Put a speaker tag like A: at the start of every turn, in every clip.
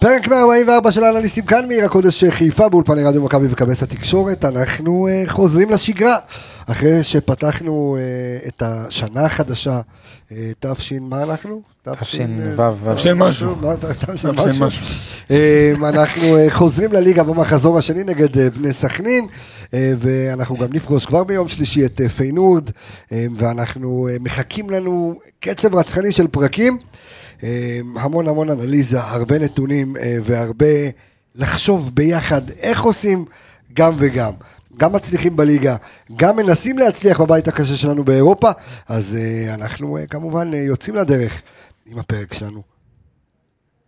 A: פרק 144 של האנליסטים כאן מעיר הקודש חיפה באולפני רדיו מכבי וכבש התקשורת, אנחנו uh, חוזרים לשגרה אחרי שפתחנו uh, את השנה החדשה, uh, תש... מה אנחנו? אה,
B: תשנ"ו.
C: של משהו.
A: מה, אתה- אתה-
C: עכשיו של
A: משהו?
C: משהו.
A: אה, אנחנו אה, חוזרים לליגה במחזור השני נגד אה, בני סכנין, אה, ואנחנו גם נפגוש כבר ביום שלישי את אה, פיינורד, אה, ואנחנו אה, מחכים לנו קצב רצחני של פרקים, אה, המון המון אנליזה, הרבה נתונים אה, והרבה לחשוב ביחד איך עושים גם וגם. גם מצליחים בליגה, גם מנסים להצליח בבית הקשה שלנו באירופה, אז אה, אנחנו אה, כמובן אה, יוצאים לדרך עם הפרק שלנו.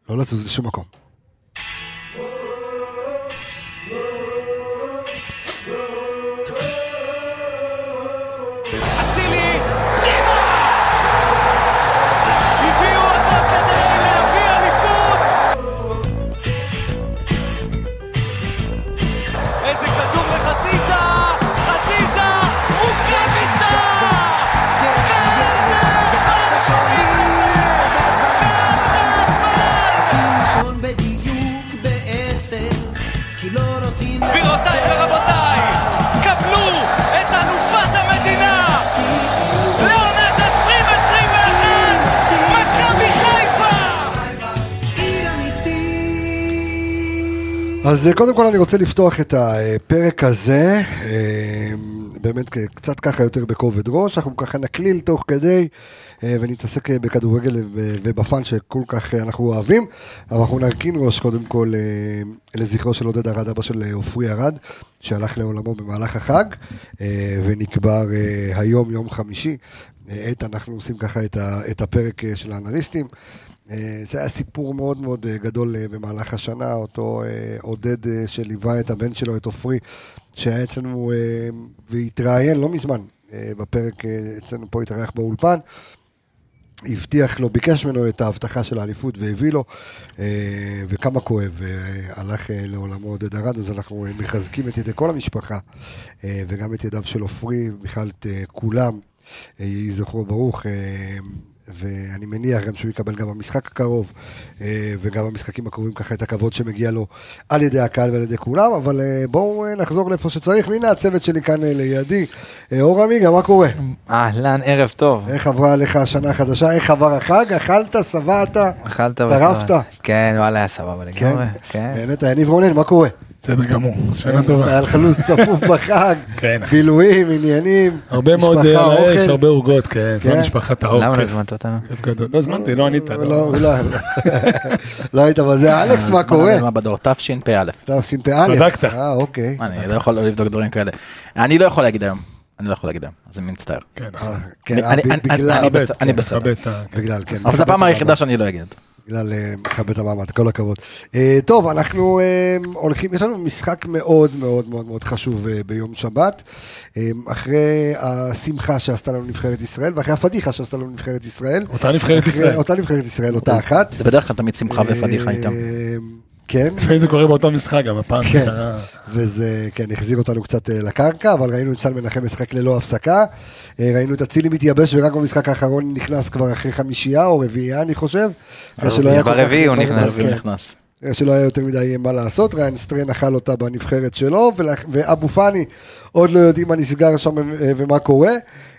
A: לא לזוז לשום מקום.
D: אצילי, אימא! הביאו אותו כדי להביא אליפות! איזה כדור לחזיזה! חזיזה! רוקאביצה!
E: ראשון בדיוק בעשר, כי לא רוצים...
D: גבירותיי ורבותיי, קבלו את אלופת המדינה! לעונת 2021! מכבי חיפה!
E: עיר אמיתית!
A: אז אה, קודם כל אני רוצה לפתוח את הפרק הזה, אה, באמת כ- קצת ככה יותר בכובד ראש, אנחנו ככה נקליל תוך כדי אה, ונתעסק אה, בכדורגל ו- ובפאן שכל כך אה, אנחנו אוהבים, אבל אנחנו נרכין ראש קודם כל אה, לזכרו של עודד ארד, אבא של אה, עופרי ארד, שהלך לעולמו במהלך החג אה, ונקבר אה, היום, יום חמישי. אה, עת אנחנו עושים ככה את ה- את הפרק אה, של האנליסטים. אה, זה היה סיפור מאוד מאוד אה, גדול אה, במהלך השנה, אותו אה, עודד אה, שליווה את הבן שלו, את עופרי, שהיה אצלנו אה, והתראיין לא מזמן אה, בפרק, אה, אצלנו פה התארח באולפן. הבטיח לו, ביקש ממנו את ההבטחה של האליפות והביא לו, אה, וכמה כואב, אה, הלך אה, לעולמו עודד ארד, אז אנחנו אה, מחזקים את ידי כל המשפחה, אה, וגם את ידיו של עופרי, בכלל את אה, כולם, אה, יהי זכרו ברוך, אה, ואני מניח גם שהוא יקבל גם במשחק הקרוב, אה, וגם במשחקים הקרובים ככה את הכבוד שמגיע לו על ידי הקהל ועל ידי כולם, אבל אה, בואו אה, נחזור לאיפה שצריך, הנה הצוות שלי כאן אה, לידי, אה, אור עמיגה, מה קורה?
B: אהלן, ערב טוב.
F: אה,
A: איך עברה עליך השנה החדשה? איך עבר החג? אכלת? שבעת?
B: אכלת
A: טרפת?
B: כן, וואלה, היה סבבה
A: כן.
B: לגמרי.
F: אוקיי.
B: כן.
A: באמת, יניב רונן, מה קורה?
C: בסדר גמור, שנה
A: אתה
C: טובה.
A: היה לך לו"ז צפוף בחג,
C: כן.
A: בילויים, עניינים,
C: הרבה מאוד
A: משפחה,
C: אה, על האש,
A: אוכל.
C: הרבה עוגות, כן, זו
A: כן.
C: משפחת האור.
B: למה לא
C: כיף,
B: הזמנת אותנו?
C: כיף גדול. לא הזמנתי, לא ענית.
A: לא,
C: לא.
A: לא, לא, לא היית בזה. אלכס, מה קורה?
F: אה, מה בדור, תשפ"א.
A: תשפ"א.
C: צדקת.
A: אה, אוקיי.
F: אני לא יכול לא לבדוק דברים כאלה. אני לא יכול להגיד היום. אני לא יכול להגיד היום, אז אני מצטער.
C: כן,
A: אה, כן,
F: אני-
A: אה,
F: אני-
A: ב-
F: אני-
A: בגלל,
F: אני בסדר, אני בסדר.
C: מכבד את ה-
A: בגלל, כן.
F: אבל זו הפעם
A: מכבד
F: היחידה שאני לא אגיד.
A: בגלל אה, מכבד את המעמד, כל הכבוד. אה, טוב, אנחנו אה, הולכים, יש לנו משחק מאוד מאוד מאוד מאוד חשוב אה, ביום שבת, אה, אחרי השמחה שעשתה לנו נבחרת ישראל, ואחרי הפדיחה שעשתה לנו נבחרת ישראל.
C: אותה נבחרת
A: אחרי-
C: ישראל.
A: אותה נבחרת ישראל, אותה אחת.
F: זה בדרך כלל תמיד שמחה ופדיחה
A: אה,
F: איתם.
A: כן.
C: לפעמים זה קורה באותו משחק, גם הפעם
A: כן.
C: זה קרה.
A: וזה, כן, החזיר אותנו קצת אה, לקרקע, אבל ראינו את סל מנחם משחק ללא הפסקה. אה, ראינו את אצילי מתייבש, ורק במשחק האחרון נכנס כבר אחרי חמישייה או רביעייה, אני חושב. אחרי שלא היה כל כך-
B: ברביעי הוא נכנס.
A: כן.
F: הרביעי אה, הוא נכנס.
A: שלא היה יותר מדי מה לעשות, ריין סטרן אכל אותה בנבחרת שלו, ולאח- ואבו פאני עוד לא יודעים מה נסגר שם אה, ומה קורה.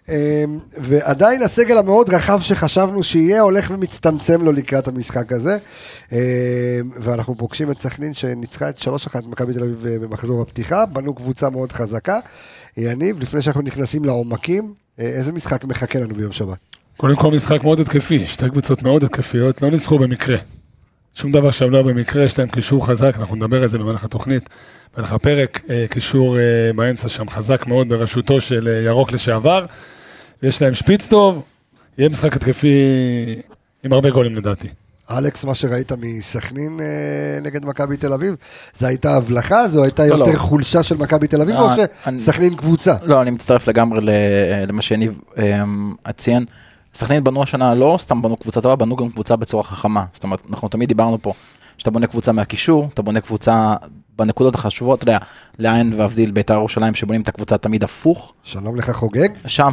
A: אה, ועדיין הסגל המאוד רחב שחשבנו שיהיה הולך ומצטמצם לו לקראת המשחק הזה. אה, ואנחנו פוגשים את סכנין שניצחה את 3-1 את מכבי תל אביב אה, במחזור הפתיחה, בנו קבוצה מאוד חזקה. יניב, לפני שאנחנו נכנסים לעומקים, אה, איזה משחק מחכה לנו ביום שבת?
C: קודם כל משחק מאוד התקפי, שתי קבוצות מאוד התקפיות, לא ניצחו במקרה. שום דבר שם לא היה במקרה, יש להם קישור חזק, אנחנו נדבר על זה במהלך התוכנית, במהלך הפרק, אה, קישור אה, באמצע שם חזק מאוד בראשותו של אה, ירוק לשעבר, יש להם שפיץ טוב, יהיה משחק התקפי עם הרבה גולים לדעתי.
A: אלכס, מה שראית מסכנין אה, נגד מכבי תל אביב, זו הייתה הבלחה, זו הייתה
F: לא,
A: יותר
F: לא.
A: חולשה של מכבי תל אביב, או
F: אה, אני-
A: שסכנין קבוצה?
F: לא, אני מצטרף לגמרי ל- אה, למה שיניב אמ, ציין. סכנין בנו השנה לא סתם בנו קבוצה טובה, בנו גם קבוצה בצורה חכמה. זאת אומרת, אנחנו תמיד דיברנו פה, שאתה בונה קבוצה מהקישור, אתה בונה קבוצה בנקודות החשובות, אתה יודע, לעין והבדיל בית"ר ירושלים, שבונים את הקבוצה תמיד הפוך,
A: שלום לך חוגג.
F: שם,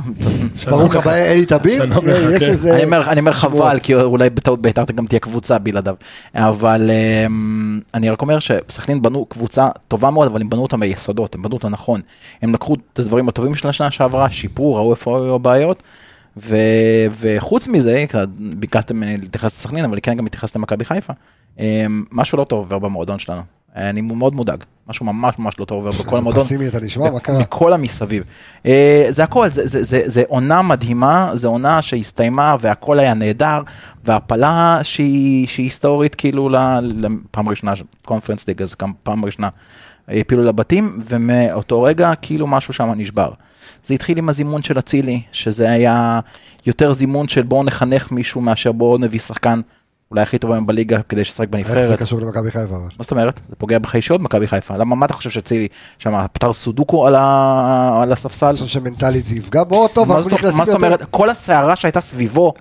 C: שלום
A: ברוך
C: לך.
A: הבא אלי תביר.
C: שלום לך,
A: אה, יש
C: כן.
A: איזה...
F: אני אומר, אני אומר
A: שבועות.
F: חבל, כי אולי בטעות בית"ר גם תהיה קבוצה בלעדיו. אבל אמ, אני רק אומר שסכנין בנו קבוצה טובה מאוד, אבל הם בנו אותה מיסודות, הם בנו אותה נכון. הם לקחו את הדברים הטובים של השנה שעברה, שיפרו, ראו איפה היו הבעיות. ו... וחוץ מזה, קצת ביקשתם ממני להתייחס לסכנין, אבל כן גם התייחסת למכבי חיפה. אמ, משהו לא טוב עובר במועדון שלנו. אני מאוד מודאג, משהו ממש ממש לא טוב עובר בכל המועדון.
A: פסימי אתה נשמע, מה קרה?
F: מכל המסביב. אה, זה הכל, זה, זה, זה, זה עונה מדהימה, זה עונה שהסתיימה והכל היה נהדר, והפלה שהיא, שהיא היסטורית כאילו לפעם ראשונה, קונפרנס ליג, אז גם פעם ראשונה אה, הפילו לבתים, ומאותו רגע כאילו משהו שם נשבר. זה התחיל עם הזימון של אצילי, שזה היה יותר זימון של בואו נחנך מישהו מאשר בואו נביא שחקן אולי הכי טוב היום בליגה כדי שישחק
A: איך זה
F: בנבחרת.
A: קשור למכבי חיפה? אבל?
F: מה זאת אומרת? זה פוגע בך אישיות מכבי חיפה. למה, מה אתה חושב שאצילי שם פתר סודוקו על, ה... על הספסל?
A: אני חושב שמנטלית זה יפגע בו, טוב,
F: מה
A: אנחנו
F: זאת,
A: נכנסים יותר...
F: מה זאת אומרת? כל הסערה שהייתה סביבו,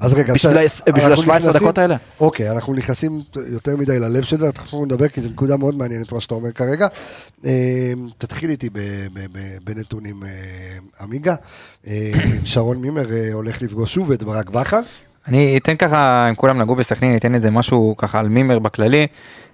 A: אז רגע,
F: בשביל
A: בסדר,
F: ה- בשביל
A: אנחנו
F: ה- 17
A: נכנסים-
F: דקות האלה?
A: אוקיי, אנחנו נכנסים יותר מדי ללב של זה, תכף אנחנו נדבר, כי זו נקודה מאוד מעניינת מה שאתה אומר כרגע. אה, תתחיל איתי ב- ב- ב- בנתונים אה, עמיגה. אה, שרון מימר אה, הולך לפגוש שוב את ברק בכר.
B: אני אתן ככה, אם כולם נגעו בסכנין, אתן איזה משהו ככה על מימר בכללי.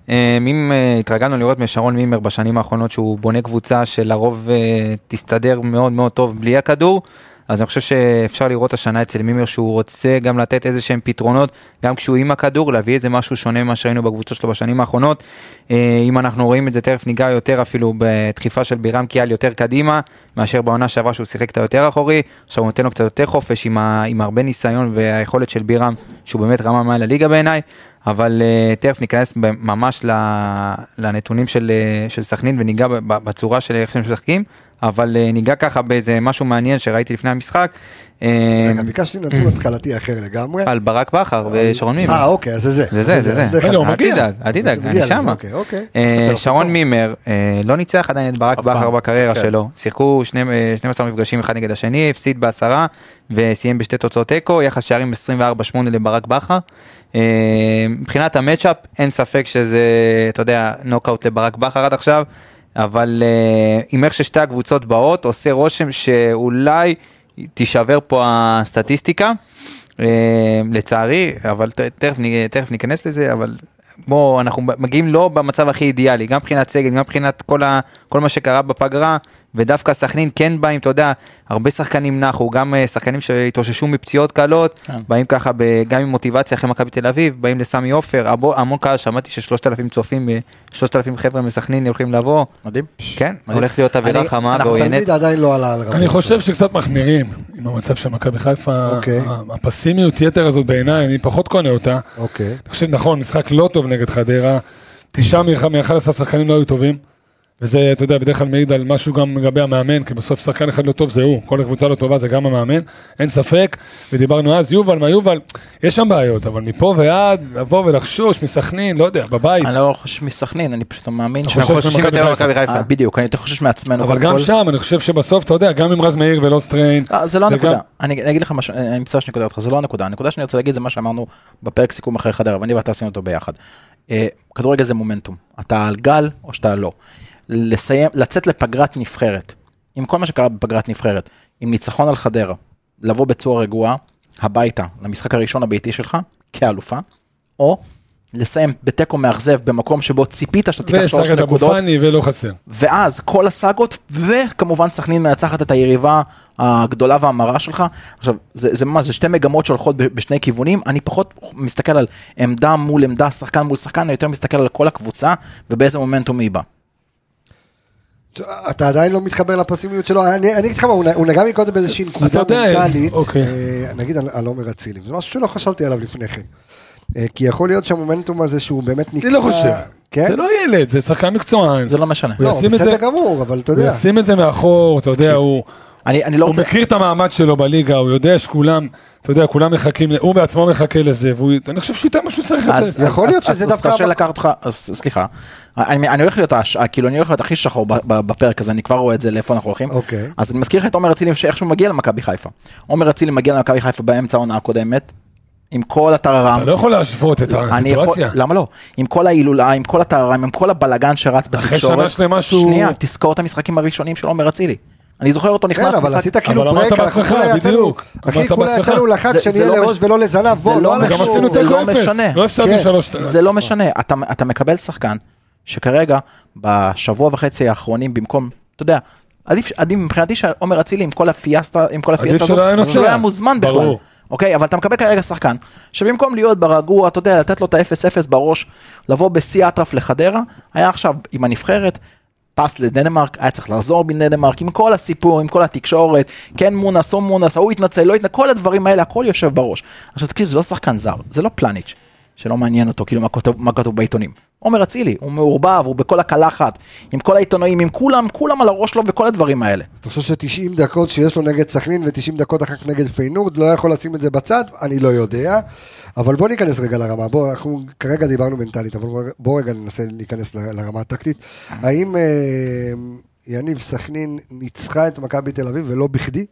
B: אה, מים, אה, התרגלנו לראות משרון מימר בשנים האחרונות שהוא בונה קבוצה שלרוב אה, תסתדר מאוד מאוד טוב בלי הכדור. אז אני חושב שאפשר לראות השנה אצל מימר שהוא רוצה גם לתת איזה שהם פתרונות, גם כשהוא עם הכדור, להביא איזה משהו שונה ממה שראינו בקבוצות שלו בשנים האחרונות. אה, אם אנחנו רואים את זה, תכף ניגע יותר אפילו בדחיפה של בירם קיאל יותר קדימה, מאשר בעונה שעברה שהוא שיחק קצת יותר אחורי, עכשיו הוא נותן לו קצת יותר חופש עם, ה, עם הרבה ניסיון והיכולת של בירם, שהוא באמת רמה מעל הליגה בעיניי, אבל אה, תכף ניכנס ב- ממש ל- לנתונים של, אה, של סכנין וניגע ב- ב- בצורה של איך שהם משחקים, אבל אה, ניגע ככה באיזה משהו מעניין שראיתי לפני המשחק, אה,
A: רגע, ביקשתי נתון התחלתי אחר לגמרי.
B: על ברק בכר ושרון מימר.
A: אה, אוקיי, אז זה זה.
B: זה זה, זה זה.
C: רגע, הוא
B: אל
C: מגיע.
B: תדאג, אל תדאג,
A: אתה
B: אני
A: מגיע לזה,
B: שמה.
A: אוקיי, אוקיי.
B: אה,
F: מספר סיפור.
B: שרון מימר אה, לא ניצח עדיין את ברק
F: אף פעם.
B: בכר בקריירה
F: כן.
B: שלו, שיחקו שני- אה, 12 מפגשים אחד נגד השני, הפסיד בעשרה וסיים בשתי תוצאות תיקו, יחס שערים 24-8 לברק בכר. אה, מבחינת המצ'אפ אין ספק שזה, אתה יודע, נוקאוט לברק בכר עד עכשיו, אבל אה, עם איך ששתי הקבוצות באות עושה רושם שאולי תישבר פה הסטטיסטיקה. אה, לצערי, אבל ת- תכף, נ- תכף ניכנס לזה, אבל בואו, אנחנו מגיעים לא במצב הכי אידיאלי, גם מבחינת סגל, גם מבחינת כל, ה, כל מה שקרה בפגרה, ודווקא סכנין כן באים, אתה יודע, הרבה שחקנים נחו, גם אה, שחקנים שהתאוששו מפציעות קלות,
F: כן.
B: באים ככה ב, גם עם מוטיבציה אחרי מכבי תל אביב, באים לסמי עופר, הבו- המון קהל, שמעתי ששלושת אלפים צופים, אה, שלושת אלפים חבר'ה מסכנין הולכים לבוא,
F: מדהים.
B: כן,
F: מדהים.
B: הולך להיות אווירה
F: אני-
B: חמה
F: אנחנו
B: ועוינת.
A: תלמיד עדיין לא עלה על רמת.
C: אני חושב שקצת מחמירים עם המצב של מכבי חיפה,
A: אוקיי.
C: ה- הפסימיות יתר הזאת בעיניי, אני פחות קונה אותה.
A: אוקיי.
C: אני חושב, נכון, משחק לא טוב נגד חדרה, תשעה מאחד עשרה שחקנים לא היו טובים, וזה, אתה יודע, בדרך כלל מעיד על משהו גם לגבי המאמן, כי בסוף שחקן אחד לא טוב זה הוא, כל הקבוצה לא טובה זה גם המאמן, אין ספק, ודיברנו אז, יובל, מה יובל, יש שם בעיות, אבל מפה ועד, לבוא ולחשוש מסכנין, לא יודע, בבית,
F: אני לא חושש מסכנין, אני פשוט מאמין
C: אתה
F: ש...
C: חושש
B: אנחנו חוששים
C: ממכבי
B: יותר
C: חיפה.
B: ממכבי חיפה.
F: אה, בדיוק, אני יותר חושש מעצמנו.
C: אבל
F: קודם
C: גם
F: כל.
C: שם, אני חושב שבסוף, אתה יודע, גם עם רז מאיר ולא סטריין,
F: אה, זה לא
C: וגם-
F: הנקודה, אני אני אגיד לך משהו, אני אני מצטער שאני קוטע אותך, זה לא הנקודה, הנקודה שאני רוצה להגיד זה מה שאמרנו בפרק סיכום אחרי חדרה, ואני ואתה עשינו אותו ביחד. אה, כדורגל זה מומנטום, אתה על גל או שאתה לא. לסיים, לצאת לפגרת נבחרת, עם כל מה שקרה בפגרת נבחרת, עם ניצחון על חדרה, לבוא בצורה רגועה, הביתה, למשחק הראשון הביתי שלך, כאלופה, או לסיים בתיקו מאכזב במקום שבו ציפית שאתה תיקח שלוש
C: וסרגת אבו
F: נקודות,
C: פאני ולא חסר.
F: ואז כל הסאגות, וכמובן סכנין מנצחת את היריבה הגדולה והמרה שלך. עכשיו, זה, זה ממש, זה שתי מגמות שהולכות ב- בשני כיוונים. אני פחות מסתכל על עמדה מול עמדה, שחקן מול שחקן, אני יותר מסתכל על כל הקבוצה ובאיזה מומנטום היא באה.
A: אתה עדיין לא מתחבר לפסימיות שלו, אני אני אגיד לך מה, הוא נ- הוא נגע מקודם באיזושהי נקודה
C: יודע,
A: מנטלית,
C: אוקיי.
A: אה, נגיד על- על עומר אצילי, זה משהו שלא חשבתי עליו לפני כן, אה, כי יכול להיות שהמומנטום הזה שהוא באמת נקרא,
C: אני לא חושב.
A: כן?
C: זה לא ילד, זה שחקן מקצוען.
F: זה לא משנה.
C: הוא
A: לא,
C: ישים את
A: בסדר
C: זה-
A: גמור, אבל אתה
C: הוא
A: יודע,
C: ישים את זה מאחור, אתה יודע, הוא
F: אני, אני לא
C: הוא
F: רוצה...
C: מכיר את המעמד שלו בליגה, הוא יודע שכולם, אתה יודע, כולם מחכים, ל- הוא בעצמו מחכה לזה, ואני חושב שהוא ייתן מה שהוא צריך לתת.
F: אז, אז,
A: יכול להיות
F: אז,
A: שזה
F: אז,
A: דווקא
F: אז תרשה
A: המקום.
F: לקחת אותך, אז סליחה, אני, אני הולך להיות, הש, כאילו אני הולך להיות הכי שחור ב- ב- בפרק הזה, אני כבר רואה את זה לאיפה אנחנו הולכים.
A: אוקיי.
F: אז אני מזכיר לך את עומר אצילי שאיכשהו מגיע למכבי חיפה. עומר אצילי מגיע למכבי חיפה באמצע העונה הקודמת, עם כל הטררם.
C: אתה לא יכול להשוות את
F: אני
C: הסיטואציה.
F: יכול, למה לא? עם כל ההילולה, עם כל הטהריים, עם כל הבלגן שרץ בתקשורת.
C: אחרי שנה שלמה שהוא-
F: שנייה, תזכור את המשחקים הראשונים של עומר אצילי. אני זוכר אותו נכנס
A: כן, אבל עשית כאילו
C: אבל אמרת
A: ברייק, אנחנו
C: בעצמך,
A: כולה יצאנו-
C: בדיוק.
A: אחי,
C: אמרת
A: כולה
C: בעצמך.
A: יצאנו לחג
F: זה- זה
A: שנהיה
F: לא
A: לראש
F: מש-
A: ולא לזנב,
F: זה
A: בוא,
F: לא
A: לא
F: משנה.
C: גם
A: אנחנו-
C: עשינו
F: זה
C: תיקו
F: לא
C: אפס,
F: משנה.
C: לא הפסדנו
A: כן.
C: שלוש...
F: זה לא משנה, אתה, אתה מקבל שחקן שכרגע, בשבוע וחצי האחרונים, במקום, אתה יודע, עדיף, עדיף מבחינתי שעומר אצילי עם כל הפיאסטה, עם כל הפיאסטה
C: שלא היה
F: הזו, אז
C: נוסע.
F: הוא לא היה מוזמן
C: ברור.
F: בכלל. אוקיי, אבל אתה מקבל כרגע שחקן, שבמקום להיות ברגוע, אתה יודע, לתת לו את ה-0-0 בראש, לבוא בשיא האטרף לחדרה, היה עכשיו עם הנבחרת, טס לדנמרק, היה צריך לחזור מדנמרק, עם כל הסיפור, עם כל התקשורת, כן מונס, לא מונס, ההוא התנצל, לא התנצל, כל הדברים האלה, הכל יושב בראש. עכשיו תקשיב, זה לא שחקן זר, זה לא פלניץ', שלא מעניין אותו, כאילו מה כתוב, מה כתוב בעיתונים. עומר אצילי, הוא מעורבב, הוא בכל הקלחת, עם כל העיתונאים, עם כולם, כולם על הראש שלו וכל הדברים האלה.
A: אתה חושב ש-90 דקות שיש לו נגד סכנין ו-90 דקות אחר כך נגד פיינורד, לא יכול לשים את זה בצד? אני לא יודע. אבל בוא ניכנס רגע לרמה, בוא, אנחנו כרגע דיברנו מנטלית, אבל בוא- בוא רגע ננסה להיכנס ל- לרמה הטקטית. האם אה, יניב סכנין ניצחה את מכבי תל אביב ולא בכדי?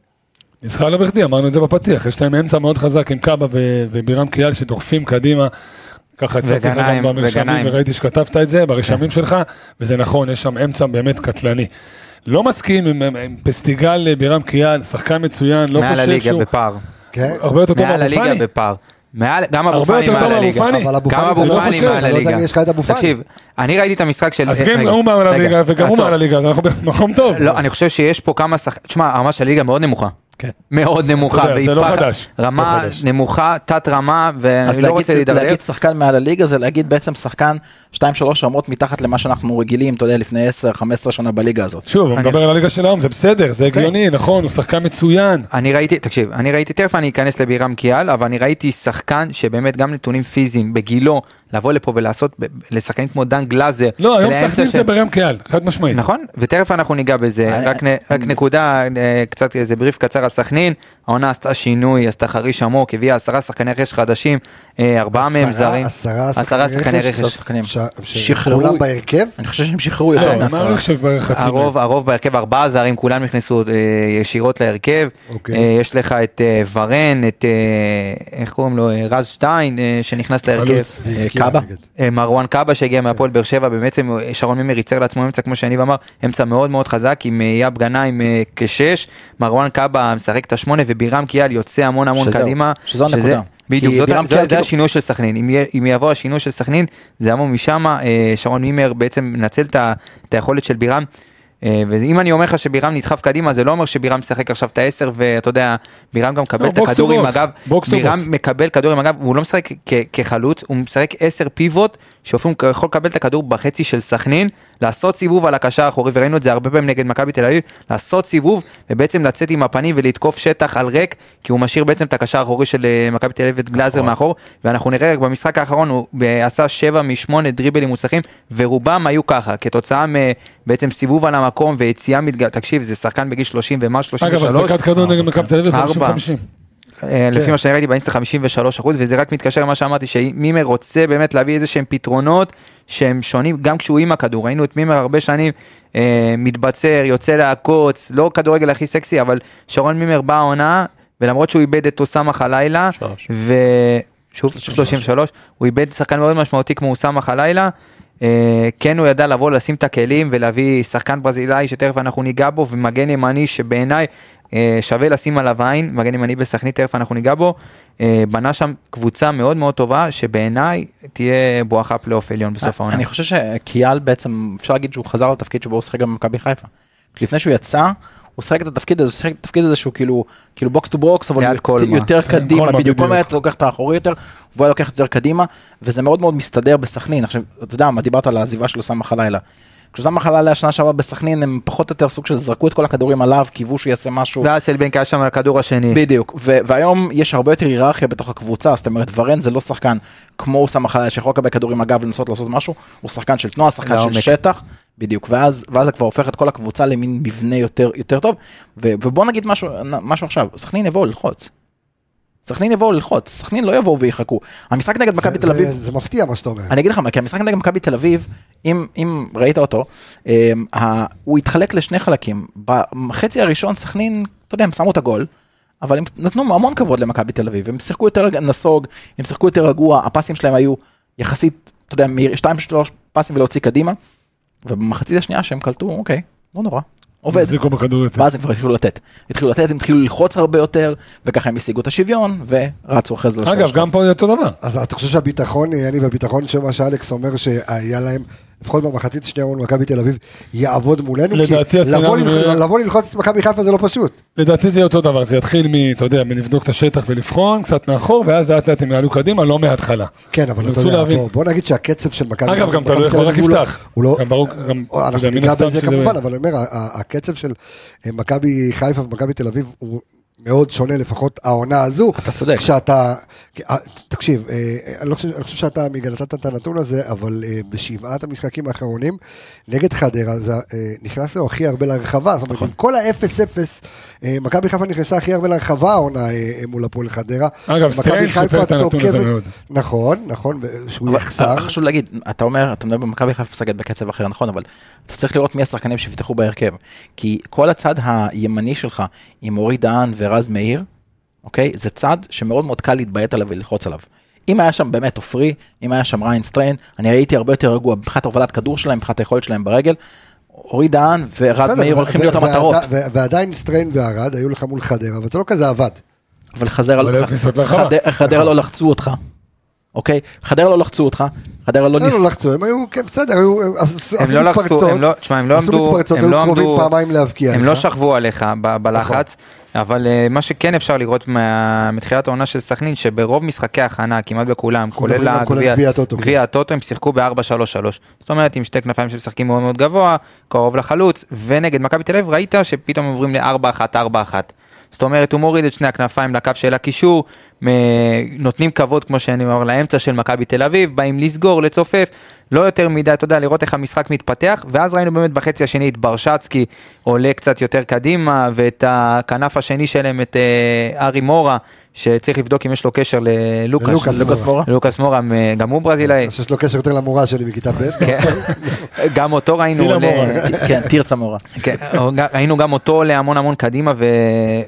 C: ניצחה לא בכדי, אמרנו את זה בפתיח, יש להם אמצע מאוד חזק עם קאבה ו- ובירם קיאל שדוחפים קדימה. ככה הצעתי לך גם
B: וגנאים,
C: במרשמים,
B: וגנאים.
C: וראיתי שכתבת את זה ברשמים שלך, וזה נכון, יש שם אמצע באמת קטלני. לא מסכים עם, עם, עם פסטיגל אה, בירם קיאל, שחקן מצוין, לא
B: מעל
C: חושב
B: הליגה
C: שהוא...
B: בפער.
A: כן?
C: הרבה יותר טוב
B: מעל
C: מאבו
B: הליגה
C: פאני.
B: בפער. מעל, גם אבו
C: הרבה
B: פאני
C: יותר
B: מעל
C: טוב מאבו
B: הליגה.
C: פאני.
A: אבל אבו
B: גם
A: פאני,
B: אבו
A: אתה לא
B: פאני
A: חושב,
B: מעל
A: אתה לא יודע
B: הליגה.
A: אם יש לך את אבו פאני.
B: תקשיב, אני ראיתי את המשחק של...
C: אז
B: אה,
C: גם
B: רגע,
C: הוא מעל
B: רגע,
C: הליגה וגם הוא
B: עצור.
C: מעל הליגה, אז אנחנו במקום טוב.
B: לא, אני חושב שיש פה כמה שחקנים, תשמע, הרמה של הליגה מאוד נמוכה.
C: כן.
B: מאוד נמוכה.
C: אתה יודע,
B: והיא
C: זה לא
B: פח-
C: חדש.
B: רמה
C: לא חדש.
B: נמוכה, תת רמה,
F: אז
B: ואני לא רוצה
F: להגיד,
B: להידרדר.
F: להגיד שחקן מעל הליגה זה להגיד בעצם שחקן 2-3 רמות מתחת למה שאנחנו רגילים, אתה יודע, לפני 10-15 שנה בליגה הזאת.
C: שוב, הוא
B: אני-
C: מדבר על הליגה של היום, זה בסדר, זה
A: אוקיי.
C: הגיוני, נכון, הוא שחקן מצוין.
B: אני ראיתי, תקשיב, אני ראיתי, תכף אני אכנס לבירם קיאל, אבל אני ראיתי שחקן שבאמת גם נתונים פיזיים, בגילו, לבוא לפה ולעשות, ב- לשחקנים כמו דן גלאזר.
C: לא, היום
B: ולאמצע
C: סכנין
B: של-
C: זה בירם קיאל, חד משמעית.
B: נכון, ותכף אנחנו ניגע
A: אה,
B: בזה,
F: אני-
B: רק, נ, רק נקודה, אה, קצת איזה בריף קצר על סכנין, העונה עשתה שינוי, עשתה חריש עמוק, הביאה עשרה שחקני רכש חדשים, אה, ארבעה
A: עשרה-
B: מהם זרים,
A: עשרה שחקני
B: שחקני
A: רכש,
B: רכש,
F: שחקנים.
A: ש-
F: שחררו-
A: שכולם בהרכב?
F: אני חושב שהם שחררו
C: לא,
A: נכון.
F: יותר
C: אני
F: מעשרה.
C: מעריך שבערך חצי מהם.
B: הרוב, הרוב בהרכב, ארבעה זרים, כולם נכנסו אה, ישירות להרכב.
A: אוקיי.
B: אה, יש לך את אה, ורן, את, אה, איך קוראים לו, אה, רז שטיין, אה, שנכנס להרכב.
C: חלוץ.
F: אה,
A: הבקיע
F: קאבה?
A: נגד. כן.
B: אה, מרואן קאבה שהגיע מהפועל באר שבע, בעצם אה, שרון מימר ייצר לעצמו אמצע, כמו שאני אמר, אמצע מאוד מאוד חזק, עם אה, יאב גנאים אה, כשש, מרואן קאבה משחק את השמונה, ובירם קיאל יוצא המון המון
F: שזהו,
B: קדימה.
F: שזו הנקודה.
B: שזה-
F: כי
B: בדיוק, זאת-
F: בירם
B: זה-
F: קיאל
B: זה
F: כאילו-
B: השינוי של סכנין, אם יהיה- אם יבוא השינוי של סכנין, זה יבוא משם, אה, שרון מימר בעצם מנצל את ה- את היכולת של בירם. אה, ואם אני אומר לך שבירם נדחף קדימה, זה לא אומר שבירם משחק עכשיו את העשר, ואתה יודע, בירם גם מקבל
C: לא,
B: את
C: box to
B: הכדור עם
C: box,
B: הגב,
C: box to
B: בירם
C: box.
B: מקבל כדור עם הגב, הוא לא משחק כ- כחלוץ, הוא משחק 10 פיבוט, שאופן יכול לקבל את הכדור בחצי של סכנין, לעשות סיבוב על הקשר האחורי, וראינו את זה הרבה פעמים נגד מכבי תל אביב, לעשות סיבוב, ובעצם לצאת עם הפנים ולתקוף שטח על ריק, כי הוא משאיר בעצם את הקשר האחורי של אה, מכבי תל אביב, את גלאזר מאחור, ואנחנו נראה רק במשחק האחרון, הוא אה, עשה 7 מ-8 דריבלים מוצלחים, ורובם היו ככה, כתוצאה מבעצם סיבוב על המקום ויציאה מתגל... תקשיב, זה שחקן בגיל 30 ומה 33.
C: אגב, החזקת כדור
A: נכון.
C: נגד מכבי תל אביב
B: ארבע.
C: 50-50.
B: אה, לפי מה שאני ראיתי באינסטה 53 אחוז וזה רק מתקשר למה שאמרתי שמימר רוצה באמת להביא איזה שהם פתרונות שהם שונים גם כשהוא עם הכדור ראינו את מימר הרבה שנים אה, מתבצר יוצא לעקוץ לא כדורגל הכי סקסי אבל שרון מימר בא העונה ולמרות שהוא איבד את אוסאמה חלילה ו... שוב 33 הוא איבד שחקן מאוד משמעותי כמו אוסאמה חלילה. אה, כן הוא ידע לבוא לשים את הכלים ולהביא שחקן ברזילאי שתכף אנחנו ניגע בו ומגן ימני שבעיניי אה, שווה לשים עליו עין מגן ימני בסכנית תכף אנחנו ניגע בו אה, בנה שם קבוצה מאוד מאוד טובה שבעיניי תהיה בואכה פלייאוף עליון בסוף העונה.
F: אני חושב שקיאל בעצם, אפשר להגיד שהוא חזר לתפקיד שבו הוא שיחק גם במכבי חיפה. לפני שהוא יצא, הוא שיחק את התפקיד הזה, הוא שיחק את התפקיד הזה שהוא כאילו, כאילו בוקס טו בוקס, אבל
B: ליד
F: הוא יותר-
B: קולמה.
F: יותר
C: כן,
F: קדימה,
C: קולמה,
F: בדיוק, כל
C: בדיוק.
F: מה אתה לוקח את האחורי יותר, והוא היה לוקח יותר קדימה, וזה מאוד מאוד מסתדר בסכנין. עכשיו, אתה יודע, מה דיברת על העזיבה של אוסאמה חלילה. כשאוסאמה חלילה השנה שעברה בסכנין, הם פחות או יותר סוג של זרקו את כל הכדורים עליו, קיוו שהוא יעשה משהו.
B: ואסלבנק היה שם על הכדור השני.
F: בדיוק, ו- והיום יש הרבה יותר היררכיה בתוך הקבוצה, זאת אומרת ורן זה לא שחקן כמו אוסאמה חלל שיכול לקבל כדור עם הגב לנסות לעשות משהו, הוא שחקן של תנועה, שחקן של
B: לעומק.
F: שטח, בדיוק, ואז, ואז זה כבר הופך את כל הקבוצה למין מבנה יותר, יותר טוב, ו- ובוא נגיד משהו, משהו עכשיו, סכנין יבואו ללחוץ. סכנין יבואו ללחוץ, סכנין לא יבואו ויחכו. המשחק נגד מכבי
A: זה-
F: תל אביב,
A: זה- זה מפתיע מה שאתה אומר.
F: אני אגיד לך מה, כי המשחק נגד מכבי תל אביב, אם, אם ראית אותו, אמ, ה- הוא התחלק לשני חלקים. בחצי הראשון סכנין, אתה יודע, הם שמו את הגול, אבל הם נתנו המון כבוד למכבי תל אביב, הם שיחקו יותר רג- נסוג, הם שיחקו יותר רגוע, הפסים שלהם היו יחסית, אתה יודע, מהיר- שתיים שלוש פסים ולהוציא קדימה, ובמחצית השנייה שהם קלטו, אוקיי, לא נורא, עובד.
C: החזיקו בכדור יותר.
F: ואז הם כבר התחילו לתת. התחילו לתת, הם התחילו ללחוץ הרבה יותר, וככה הם השיגו את השוויון, ורצו אחרי זה לשלוש.
C: אגב, גם פה זה אותו דבר.
A: אז אתה חושב שהביטחון, אני והביטחון שמה שאלכס אומר שהיה להם, לפחות במחצית השנייה מול מכבי תל אביב, יעבוד מולנו? כי
C: לדעתי
A: לבוא
C: הסצנריו
A: ללח-
C: יהיה-
A: לבוא ללחוץ את מכבי חיפה זה לא פשוט.
C: לדעתי זה יהיה אותו דבר, זה יתחיל מ, אתה יודע, מלבדוק את השטח ולבחון, קצת מאחור, ואז לאט לאט הם יעלו קדימה, לא מההתחלה.
A: כן, אבל אתה
C: ירצו
A: יודע,
C: להבין.
A: בוא- בוא נגיד שהקצב של מכבי
C: אגב, גם
A: מכבי
C: תלוי איך הוא
A: תל
C: רק
A: אביב הוא לא-
C: יפתח.
A: הוא לא...
C: גם ברור, גם, אתה
A: אנחנו
C: יודע, מן
A: ניגע
C: הסתם
A: בזה
C: שזה-
A: כמובן, אבל אני אומר, ה- ה- הקצב של אה, מכבי חיפה ומכבי תל אביב הוא מאוד שונה, לפחות העונה הזו.
F: אתה צודק.
A: כשאתה, כי- אה, תקשיב, אה, אני לא חושב אני חושב שאתה מיגל נתת את הנתון הזה, אבל אה, בשבעת המשחקים האחרונים, נגד חדרה, זה, אה, נכנס לו הכי הרבה לרחבה, זאת אומרת, עם כל ה-0-0, אה, מכבי חיפה נכנסה הכי הרבה לרחבה העונה אה, אה, מול הפועל חדרה.
C: אגב,
A: מכבי
C: סטריין
A: חיפה
C: שיפר את הנתון הזה
A: תוקפת-
C: מאוד.
A: נכון, נכון, ו- שהוא
F: אבל אה,
A: יחסר.
F: חשוב להגיד, אתה אומר, אתה מדבר במכבי חיפה סגל בקצב אחר, נכון, אבל אתה צריך לראות מי השחקנים שיפתחו בהרכב. כי כל הצד הימני שלך, עם אורי דהן ורז מאיר, אוקיי? זה צד שמאוד מאוד קל להתביית עליו וללחוץ עליו. אם היה שם באמת עופרי, אם היה שם ריין סטריין, אני הייתי הרבה יותר רגוע מבחינת הובלת כדור שלהם, מבחינת היכולת שלהם ברגל. אורי דהן ורז
A: בסדר,
F: מאיר
A: ו-
F: הולכים
A: ו-
F: להיות
A: ועדי-
F: המטרות,
A: ו- ועדיין סטריין וערד היו לך מול חדרה, אבל זה לא כזה עבד.
F: אבל חדרה
C: אבל
F: לא-
C: היו כניסות לרחבה.
F: חד- חדרה לא לחצו אותך, אוקיי? חדרה לא לחצו אותך, חדרה לא
A: הם
F: ניס...
A: לא לחצו, הם היו, כן, בסדר, היו- עשו
B: הם
A: עשו
B: לא לחצו,
A: מתפרצות,
B: הם לא, תשמע, הם לא
A: עשו
B: עמדו,
A: מתפרצות,
B: הם
A: היו
B: לא
A: קרובים
B: עמדו,
A: פעמיים להבקיע.
B: הם
A: לך. נכון.
B: לא שכבו עליך ב- בלחץ, אבל אה, מה שכן אפשר לראות מה- מתחילת העונה של סכנין, שברוב משחקי ההכנה, כמעט בכולם,
A: מדברים
B: כולל
A: גם כולל
B: הגביע-
A: גביע הטוטו, כן.
B: גביע הטוטו, הם שיחקו ב-4-3-3. זאת אומרת, עם שתי כנפיים שמשחקים מאוד מאוד גבוה, קרוב לחלוץ, ונגד מכבי תל אביב ראית שפתאום עוברים ל-4-1-4-1. זאת אומרת, הוא מוריד את שני הכנפיים לקו של הקישור, מ- נותנים כבוד, כמו שאני אומר, לאמצע של מכבי תל אביב, באים לסגור, לצופף, לא יותר מדי, אתה יודע, לראות איך המשחק מתפתח, ואז ראינו באמת בחצי השני את ברשצקי עולה קצת יותר קדימה, ואת הכנף השני שלהם, את אה, ארי מורה, שצריך לבדוק אם יש לו קשר ללוקאס,
A: ללוקאס לוקאס מורה.
B: לוקאס מורה, מ- גם הוא ברזילאי,
A: אני חושב שיש לו קשר יותר למורה שלי מכיתה ב'.
B: כן. גם אותו ראינו
C: צילה
B: עולה-
C: מורה.
F: כן, תרצה מורה.
B: כן, ראינו גם אותו עולה המון המון קדימה ו...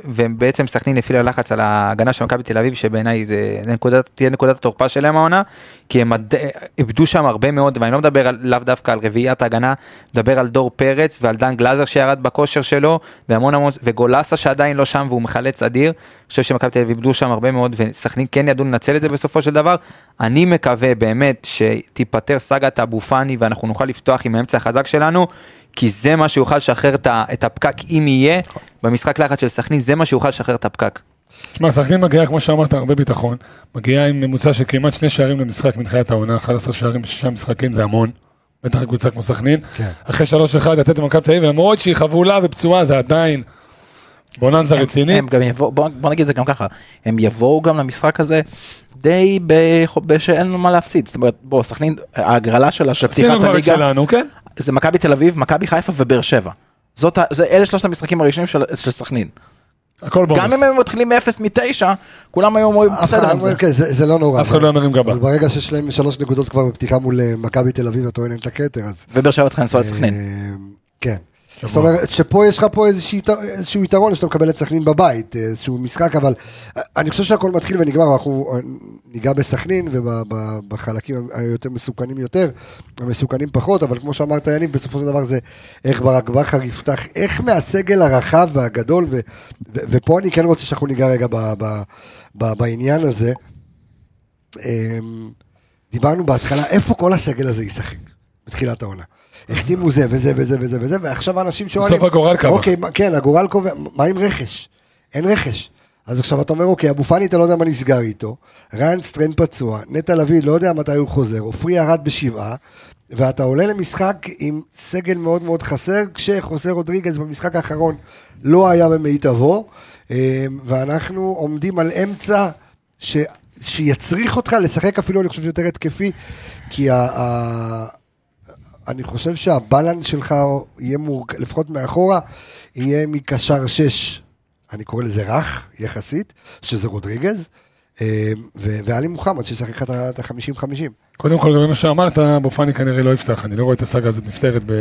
B: ובעצם סכנין הפעילה לחץ על ההגנה של מכבי תל אביב שבעיניי זה זה נקודת, תהיה נקודת התורפה שלהם העונה כי הם עד... איבדו שם הרבה מאוד ואני לא מדבר על, לאו דווקא על רביעיית ההגנה, מדבר על דור פרץ ועל דן גלאזר שירד בכושר שלו והמון המון וגולסה שעדיין לא שם והוא מחלץ אדיר. אני חושב שמכבי תל אביב איבדו שם הרבה מאוד וסכנין כן ידעו לנצל את זה בסופו של דבר. אני מקווה באמת שתיפתר סאגת אבו פאני ואנחנו נוכל לפתוח עם האמצע החזק שלנו. כי זה מה שיוכל לשחרר את ה- את הפקק אם יהיה, במשחק לחץ של סכנין זה מה שיוכל לשחרר את הפקק.
C: תשמע, סכנין מגיעה, כמו שאמרת, הרבה ביטחון. מגיעה עם ממוצע של כמעט שני שערים למשחק מתחילת העונה, 11 שערים בשישה משחקים, זה המון. בטח לקבוצה כמו סכנין.
A: כן.
C: אחרי 3-1 לתת למכבי תל אביב, למרות שהיא חבולה ופצועה, זה עדיין בוננזה רצינית.
F: הם גם יבואו, בוא, בוא נגיד את זה גם ככה, הם יבואו גם למשחק הזה די בח- בשאין לנו מה להפסיד, זאת אומרת, בוא, סכנין, ההגרלה שלה של
C: עשינו
F: פתיחת
C: כבר את
F: הליגה,
C: שלנו, כן?
F: זה מכבי תל אביב, מכבי חיפה ובאר שבע. זאת, ה- זה, אלה שלושת המשחקים הראשונים של, של סכנין.
C: הכל בונוס.
F: גם אם הם מתחילים מ-0 מ-9, כולם היו אומרים,
A: אף
F: בסדר
A: אחד
F: עם זה.
A: לא- כן, זה זה לא נורא.
C: אף אחד לא ימרים גבה.
A: אבל ברגע שיש להם שלוש נקודות כבר בפתיחה מול אה, מכבי תל אביב, אתה רואה להם את הכתר, אז...
F: ובאר שבע צריכים לנסוע לסכנין.
A: אה, כן. זאת אומרת שפה יש לך פה איזושהי יתר- איזשהו יתרון שאתה מקבל את סכנין בבית, איזשהו משחק, אבל אה, אני חושב שהכל מתחיל ונגמר, אנחנו אה, ניגע בסכנין ובחלקים היותר מסוכנים יותר, המסוכנים פחות, אבל כמו שאמרת יניב, בסופו של דבר זה איך ברק בכר יפתח, איך מהסגל הרחב והגדול, ו- ו- ופה אני כן רוצה שאנחנו ניגע רגע ב- ב- ב- בעניין הזה. אמ, דיברנו בהתחלה, איפה כל הסגל הזה ישחק בתחילת העונה? החתימו זה וזה וזה וזה וזה, ועכשיו אנשים שואלים...
C: בסוף הגורל קבע.
A: אוקיי, מה- כן, הגורל קובע, מה עם רכש? אין רכש. אז עכשיו אתה אומר, אוקיי, אבו פאני, אתה לא יודע מה נסגר איתו, ריין סטריין פצוע, נטע לביא, לא יודע מתי הוא חוזר, עופרי ירד בשבעה, ואתה עולה למשחק עם סגל מאוד מאוד חסר, כשחוסה רודריגז במשחק האחרון לא היה במיטבו, אמ, ואנחנו עומדים על אמצע ש... שיצריך אותך לשחק אפילו, אני חושב, יותר התקפי, כי ה... ה... אני חושב שהבלנס שלך יהיה מורכב, לפחות מאחורה, יהיה מקשר שש, אני קורא לזה רך, יחסית, שזה רודריגז, אה, ו- ועלי מוחמד שישחק לך את ה- את ה-50-50.
C: קודם כל, לגבי מה שאמרת, בופני כנראה לא יפתח, אני לא רואה את הסאגה הזאת נפתרת, ב...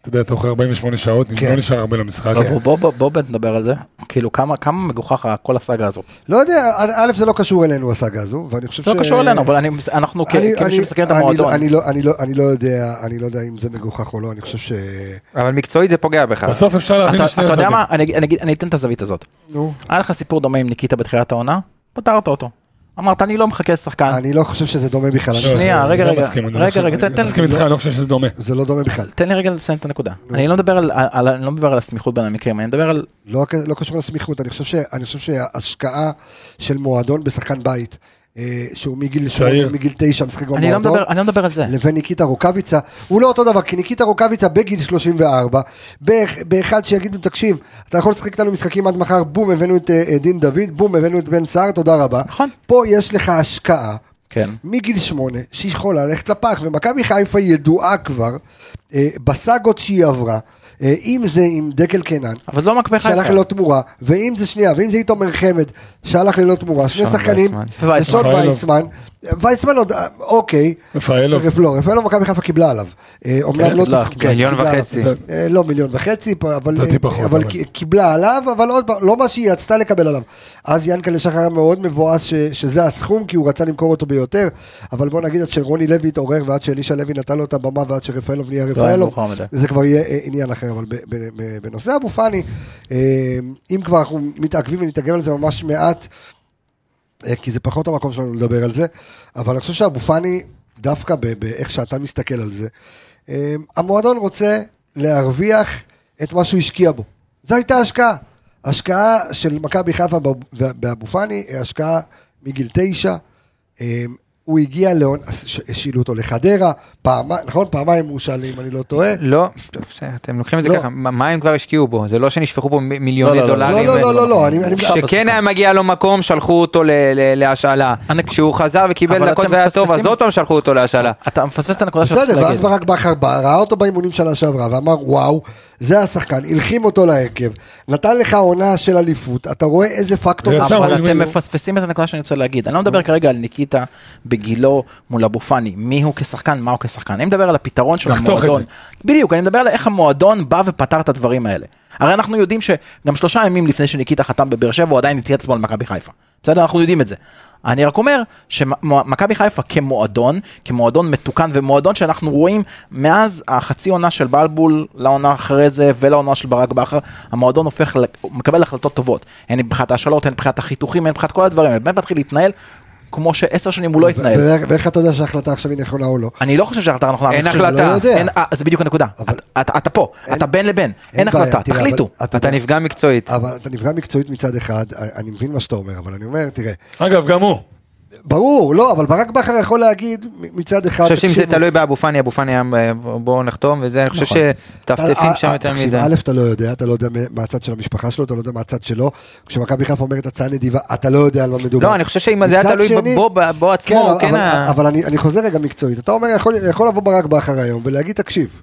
C: אתה יודע, תוך 48 שעות,
A: כן.
C: לא נשאר הרבה למשחק.
F: בוא- בוא- בוא- בוא באמת נדבר על זה, כאילו כמה כמה מגוחך כל הסאגה הזאת.
A: לא יודע, א', זה לא קשור אלינו הסאגה הזו, ואני חושב ש...
F: זה לא קשור אלינו, אבל אני- אנחנו כ-
A: אני-
F: כמי
A: אני-
F: שמסתכל את
A: אני לא-
F: המועדון.
A: אני לא- אני לא- אני לא יודע, אני לא יודע אם זה מגוחך או לא, אני חושב ש...
B: אבל מקצועית זה פוגע בך.
C: בסוף אפשר להבין
F: אתה
C: לשני
F: אתה יודע
C: הצדדים.
F: מה, אני אגיד- אני אגיד- אני אתן את הזווית הזאת.
A: נו.
F: היה לך סיפור דומה עם ניקיטה בתחילת העונה, פתרת אותו. אמרת, אני לא מחכה לשחקן.
A: אני לא חושב שזה דומה בכלל. אני
C: לא,
A: חושב-
F: שנייה,
C: זה-
F: רגע,
C: אני לא
F: רגע,
C: מסכים, אני
F: רגע,
C: לא חושב-
F: רגע, תן-
C: אני
F: תן-
C: מסכים איתך, אני לא חושב שזה דומה.
A: זה לא דומה בכלל.
F: תן לי רגע לסיים את הנקודה. אני לא מדבר על- על- אני לא מדבר על הסמיכות בין המקרים, אני מדבר על...
A: לא, לא קשור לסמיכות, אני חושב, ש, אני חושב שההשקעה של מועדון בשחקן בית, אה, שהוא מגיל
C: צעיר.
A: שמונה, מגיל תשע משחק
F: אני לא
A: במועדון,
F: מדבר- אני לא מדבר על זה.
A: לבין ניקיטה רוקאביצה, הוא לא אותו דבר, כי ניקיטה רוקאביצה בגיל 34, באח- באחד שיגיד לו, תקשיב, אתה יכול לשחק איתנו משחקים עד מחר, בום, הבאנו את אה, אה, דין דוד, בום, הבאנו את בן סער, תודה רבה.
F: נכון.
A: פה יש לך השקעה.
F: כן.
A: מגיל שמונה, שיכולה ללכת לפח, ומכבי חיפה ידועה כבר אה, בסאגות שהיא עברה, אה, אם זה עם דקל קנן,
F: אבל זה לא מכבי
A: שהלך
F: חיפה.
A: ללא תמורה, ואם זה שנייה, ואם זה איתומר חמד, שהלך ללא לא תמורה, שני
B: שון
A: שחקנים,
F: וייסמן.
A: ושון
C: רפאלוב.
A: וייסמן, וייסמן עוד, אה, אוקיי,
C: רפאלוב.
A: לא, רפאלוב מכבי חיפה קיבלה עליו, אה, אומנם לא
F: קיבלה,
A: תשחק, כן,
F: קיבלה.
B: מיליון
A: קיבלה עליו.
B: וחצי.
A: אה, לא מיליון וחצי, פה, אבל,
C: לדעתי
A: אה,
C: פחות,
A: אבל
C: אבל.
A: כי- קיבלה עליו, אבל עוד פעם, לא מה שהיא רצתה לקבל עליו. אז ינקלה שחר היה מאוד מבואס ש- שזה הסכום, כי הוא רצה למכור אותו ביותר, אבל בוא נגיד עד שרוני לוי התעורר, ועד שאלישע לוי נתן לו את הבמה, ועד שרפאלוב נהיה
F: לא היה
A: רפאלוב,
F: מאוחר מדי.
A: זה כבר יהיה אה, עניין אחר, אבל ב- ב- ב- בנושא אבו פאני, אה, אם כבר אנחנו מתעכבים ונתעכב על זה ממש מעט, אה, כי זה פחות המקום שלנו לדבר על זה, אבל אני חושב שאבו פאני, דווקא ב- באיך שאתה מסתכל על זה, אה, המועדון רוצה להרוויח את מה שהוא השקיע בו. זו הייתה השקעה. השקעה של מכבי חיפה באב- באבו פאני, אה, השקעה מגיל תשע. אה, הוא הגיע, להונ- ש- השאילו אותו לחדרה, פעמיים, נכון? פעמיים הוא שאל, אם אני לא טועה.
B: לא, טוב, בסדר, אתם לוקחים את זה
A: לא.
B: ככה, מה מה הם כבר השקיעו בו? זה לא שנשפכו פה מ- מיליוני
F: לא, לא, לא.
A: לא,
B: דולרים.
A: לא, לא, לא, לא, אני... אני-
B: שכן היה מגיע לו מקום, שלחו אותו ל- ל- להשאלה.
F: הנק-
B: כשהוא חזר
F: אבל
B: וקיבל דקות
F: אתם
B: והיה טוב, אז
F: מפספסים-
B: עוד פעם שלחו אותו להשאלה.
F: אתה מפספס את הנקודה שרציתי
A: בסדר,
F: להגיד.
A: ואז ברק בכר בא, ראה אותו באימונים שנה שעברה ואמר וואו, זה השחקן, הלחים אותו להרכב, נתן לך עונה של אליפות, אתה רואה איזה פקטור,
C: יצא,
A: אבל-
F: אבל
C: אני
F: אתם
C: אומר-
F: מפספסים את הנקודה שאני רוצה להגיד. אני לא מדבר כרגע על ניקיטה בגילו מול אבו פאני, מי הוא כשחקן, מה הוא כשחקן. אני מדבר על הפתרון של
C: לחתוך את
F: המועדון. נכון. בדיוק, אני מדבר על איך המועדון בא ופתר את הדברים האלה. הרי אנחנו יודעים שגם שלושה ימים לפני שניקיטה חתם בבאר שבע, הוא עדיין הציע עצמו למכבי חיפה. בסדר, אנחנו יודעים את זה. אני רק אומר שמכבי חיפה כמועדון, כמועדון מתוקן ומועדון שאנחנו רואים מאז החצי עונה של בלבול לעונה אחרי זה ולעונה של ברק בכר, המועדון הופך, ל- הוא מקבל החלטות טובות. הן מבחינת ההשאלות, הן מבחינת החיתוכים, הן מבחינת כל הדברים, הוא באמת מתחיל להתנהל כמו שעשר שנים הוא לא התנהל.
A: ו- ואיך אתה יודע שההחלטה עכשיו היא נכונה או לא,
F: אני לא חושב שההחלטה נכונה.
B: אין
F: אני חושב-
B: החלטה.
A: לא יודע.
F: אין- אה, זה בדיוק הנקודה.
A: אבל-
F: אתה- אתה- אתה פה, אתה בין לבין, אין
A: בעיה,
F: החלטה,
A: תראה,
F: תחליטו.
A: אבל
B: אתה
A: יודע-
B: נפגע מקצועית.
A: אבל אתה נפגע מקצועית מצד אחד, אני מבין מה שאתה אומר, אבל אני אומר, תראה,
C: אגב, גם הוא.
A: ברור, לא, אבל ברק בכר יכול להגיד מ- מצד אחד,
B: אני חושב שאם זה
A: תקשיבו,
B: תלוי באבו פאני, אבו פאני היה, אה, בואו נחתום וזה, אני חושב
A: אה,
B: שטפטפים
A: אה,
B: שם יותר
A: תקשיב,
B: מדי.
A: א', אתה לא יודע, אתה לא יודע מה- מהצד של המשפחה שלו, אתה לא יודע מהצד שלו. כשמכבי חיפה אומרת הצעה נדיבה, אתה לא יודע על מה מדובר.
B: לא, אני חושב שאם זה היה
A: מצד
B: תלוי
A: שני-
B: בו- בו- בו עצמו, הוא
A: אבל-
B: כן היה-
A: אבל אני אני חוזר רגע מקצועית. אתה אומר, יכול- יכול לבוא ברק בכר היום ולהגיד, תקשיב,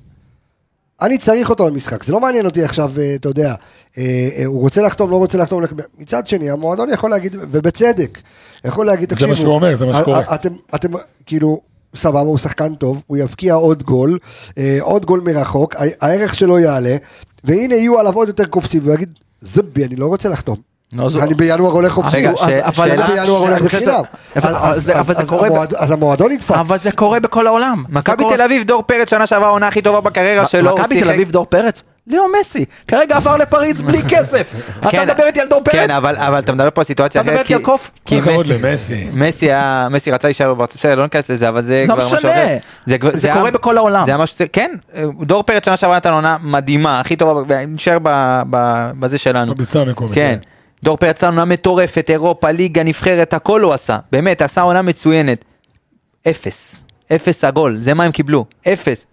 A: אני צריך אותו למשחק, זה לא מעניין אותי עכשיו, אה, אתה יודע, אה, אה, הוא רוצה לחתום, לא רוצה לחתום, הולך- מצד שני, המועדון יכול להגיד, ובצדק, יכול להגיד,
C: זה
A: תקשיבו,
C: מה שהוא אומר, זה מה
A: אה,
C: שקורה."
A: אה, אתם, אתם, כאילו, סבבה, הוא שחקן טוב, הוא יבקיע עוד גול, אה, עוד גול מרחוק, ה- הערך שלו יעלה, והנה יהיו עליו עוד יותר קופצים, והוא יגיד, זבי, אני לא רוצה לחתום.
F: נו, זו-
A: אני בינואר הולך חופשי,
B: רגע,
A: אז-
B: ש-
A: אבל אני
B: שאלה-
A: בינואר הולך
F: אני חושב
A: בחינם.
F: שזה-
A: אז-
F: אבל- אבל זה-
A: אז-
F: אבל זה
A: אז
F: קורה ב-
A: המועד- אז המועדון נדפק.
F: אבל זה קורה בכל העולם.
B: מכבי
F: זה קורה-
B: תל אביב, דור פרץ, שנה שעברה העונה הכי טובה בקריירה שלו, הוא
F: מכבי תל
B: שיחק-
F: אביב דור פרץ? ליאו מסי, כרגע עבר לפריז בלי כסף. אתה
B: כן,
F: מדבר איתי על דור פרץ?
B: כן, אבל אבל אתה מדבר פה על סיטואציה
F: אתה
B: אחרת,
F: מדבר איתי
B: כי-
F: על קוף?
B: כי
C: כל הכבוד
B: מסי-
C: למסי.
B: מסי היה- מסי רצה להישאר בארצות, בסדר, לא ניכנס לזה, אבל זה
F: לא
B: כבר משהו
F: משנה.
B: אחר. כבר-
F: זה
B: היה-
F: קורה בכל העולם.
B: זה היה משהו, שצריך- כן, דור פרץ שנה שעברה נתן עונה מדהימה, הכי טובה, ב- נשאר ב- ב- בזה שלנו.
C: בביצה המקומית.
B: כן. דור פרץ עשה עונה מטורפת, אירופה, ליגה, נבחרת, הכל הוא עשה. באמת, עשה עונה מצוינת. אפס. אפס עגול, זה מה הם קיבלו. אפס.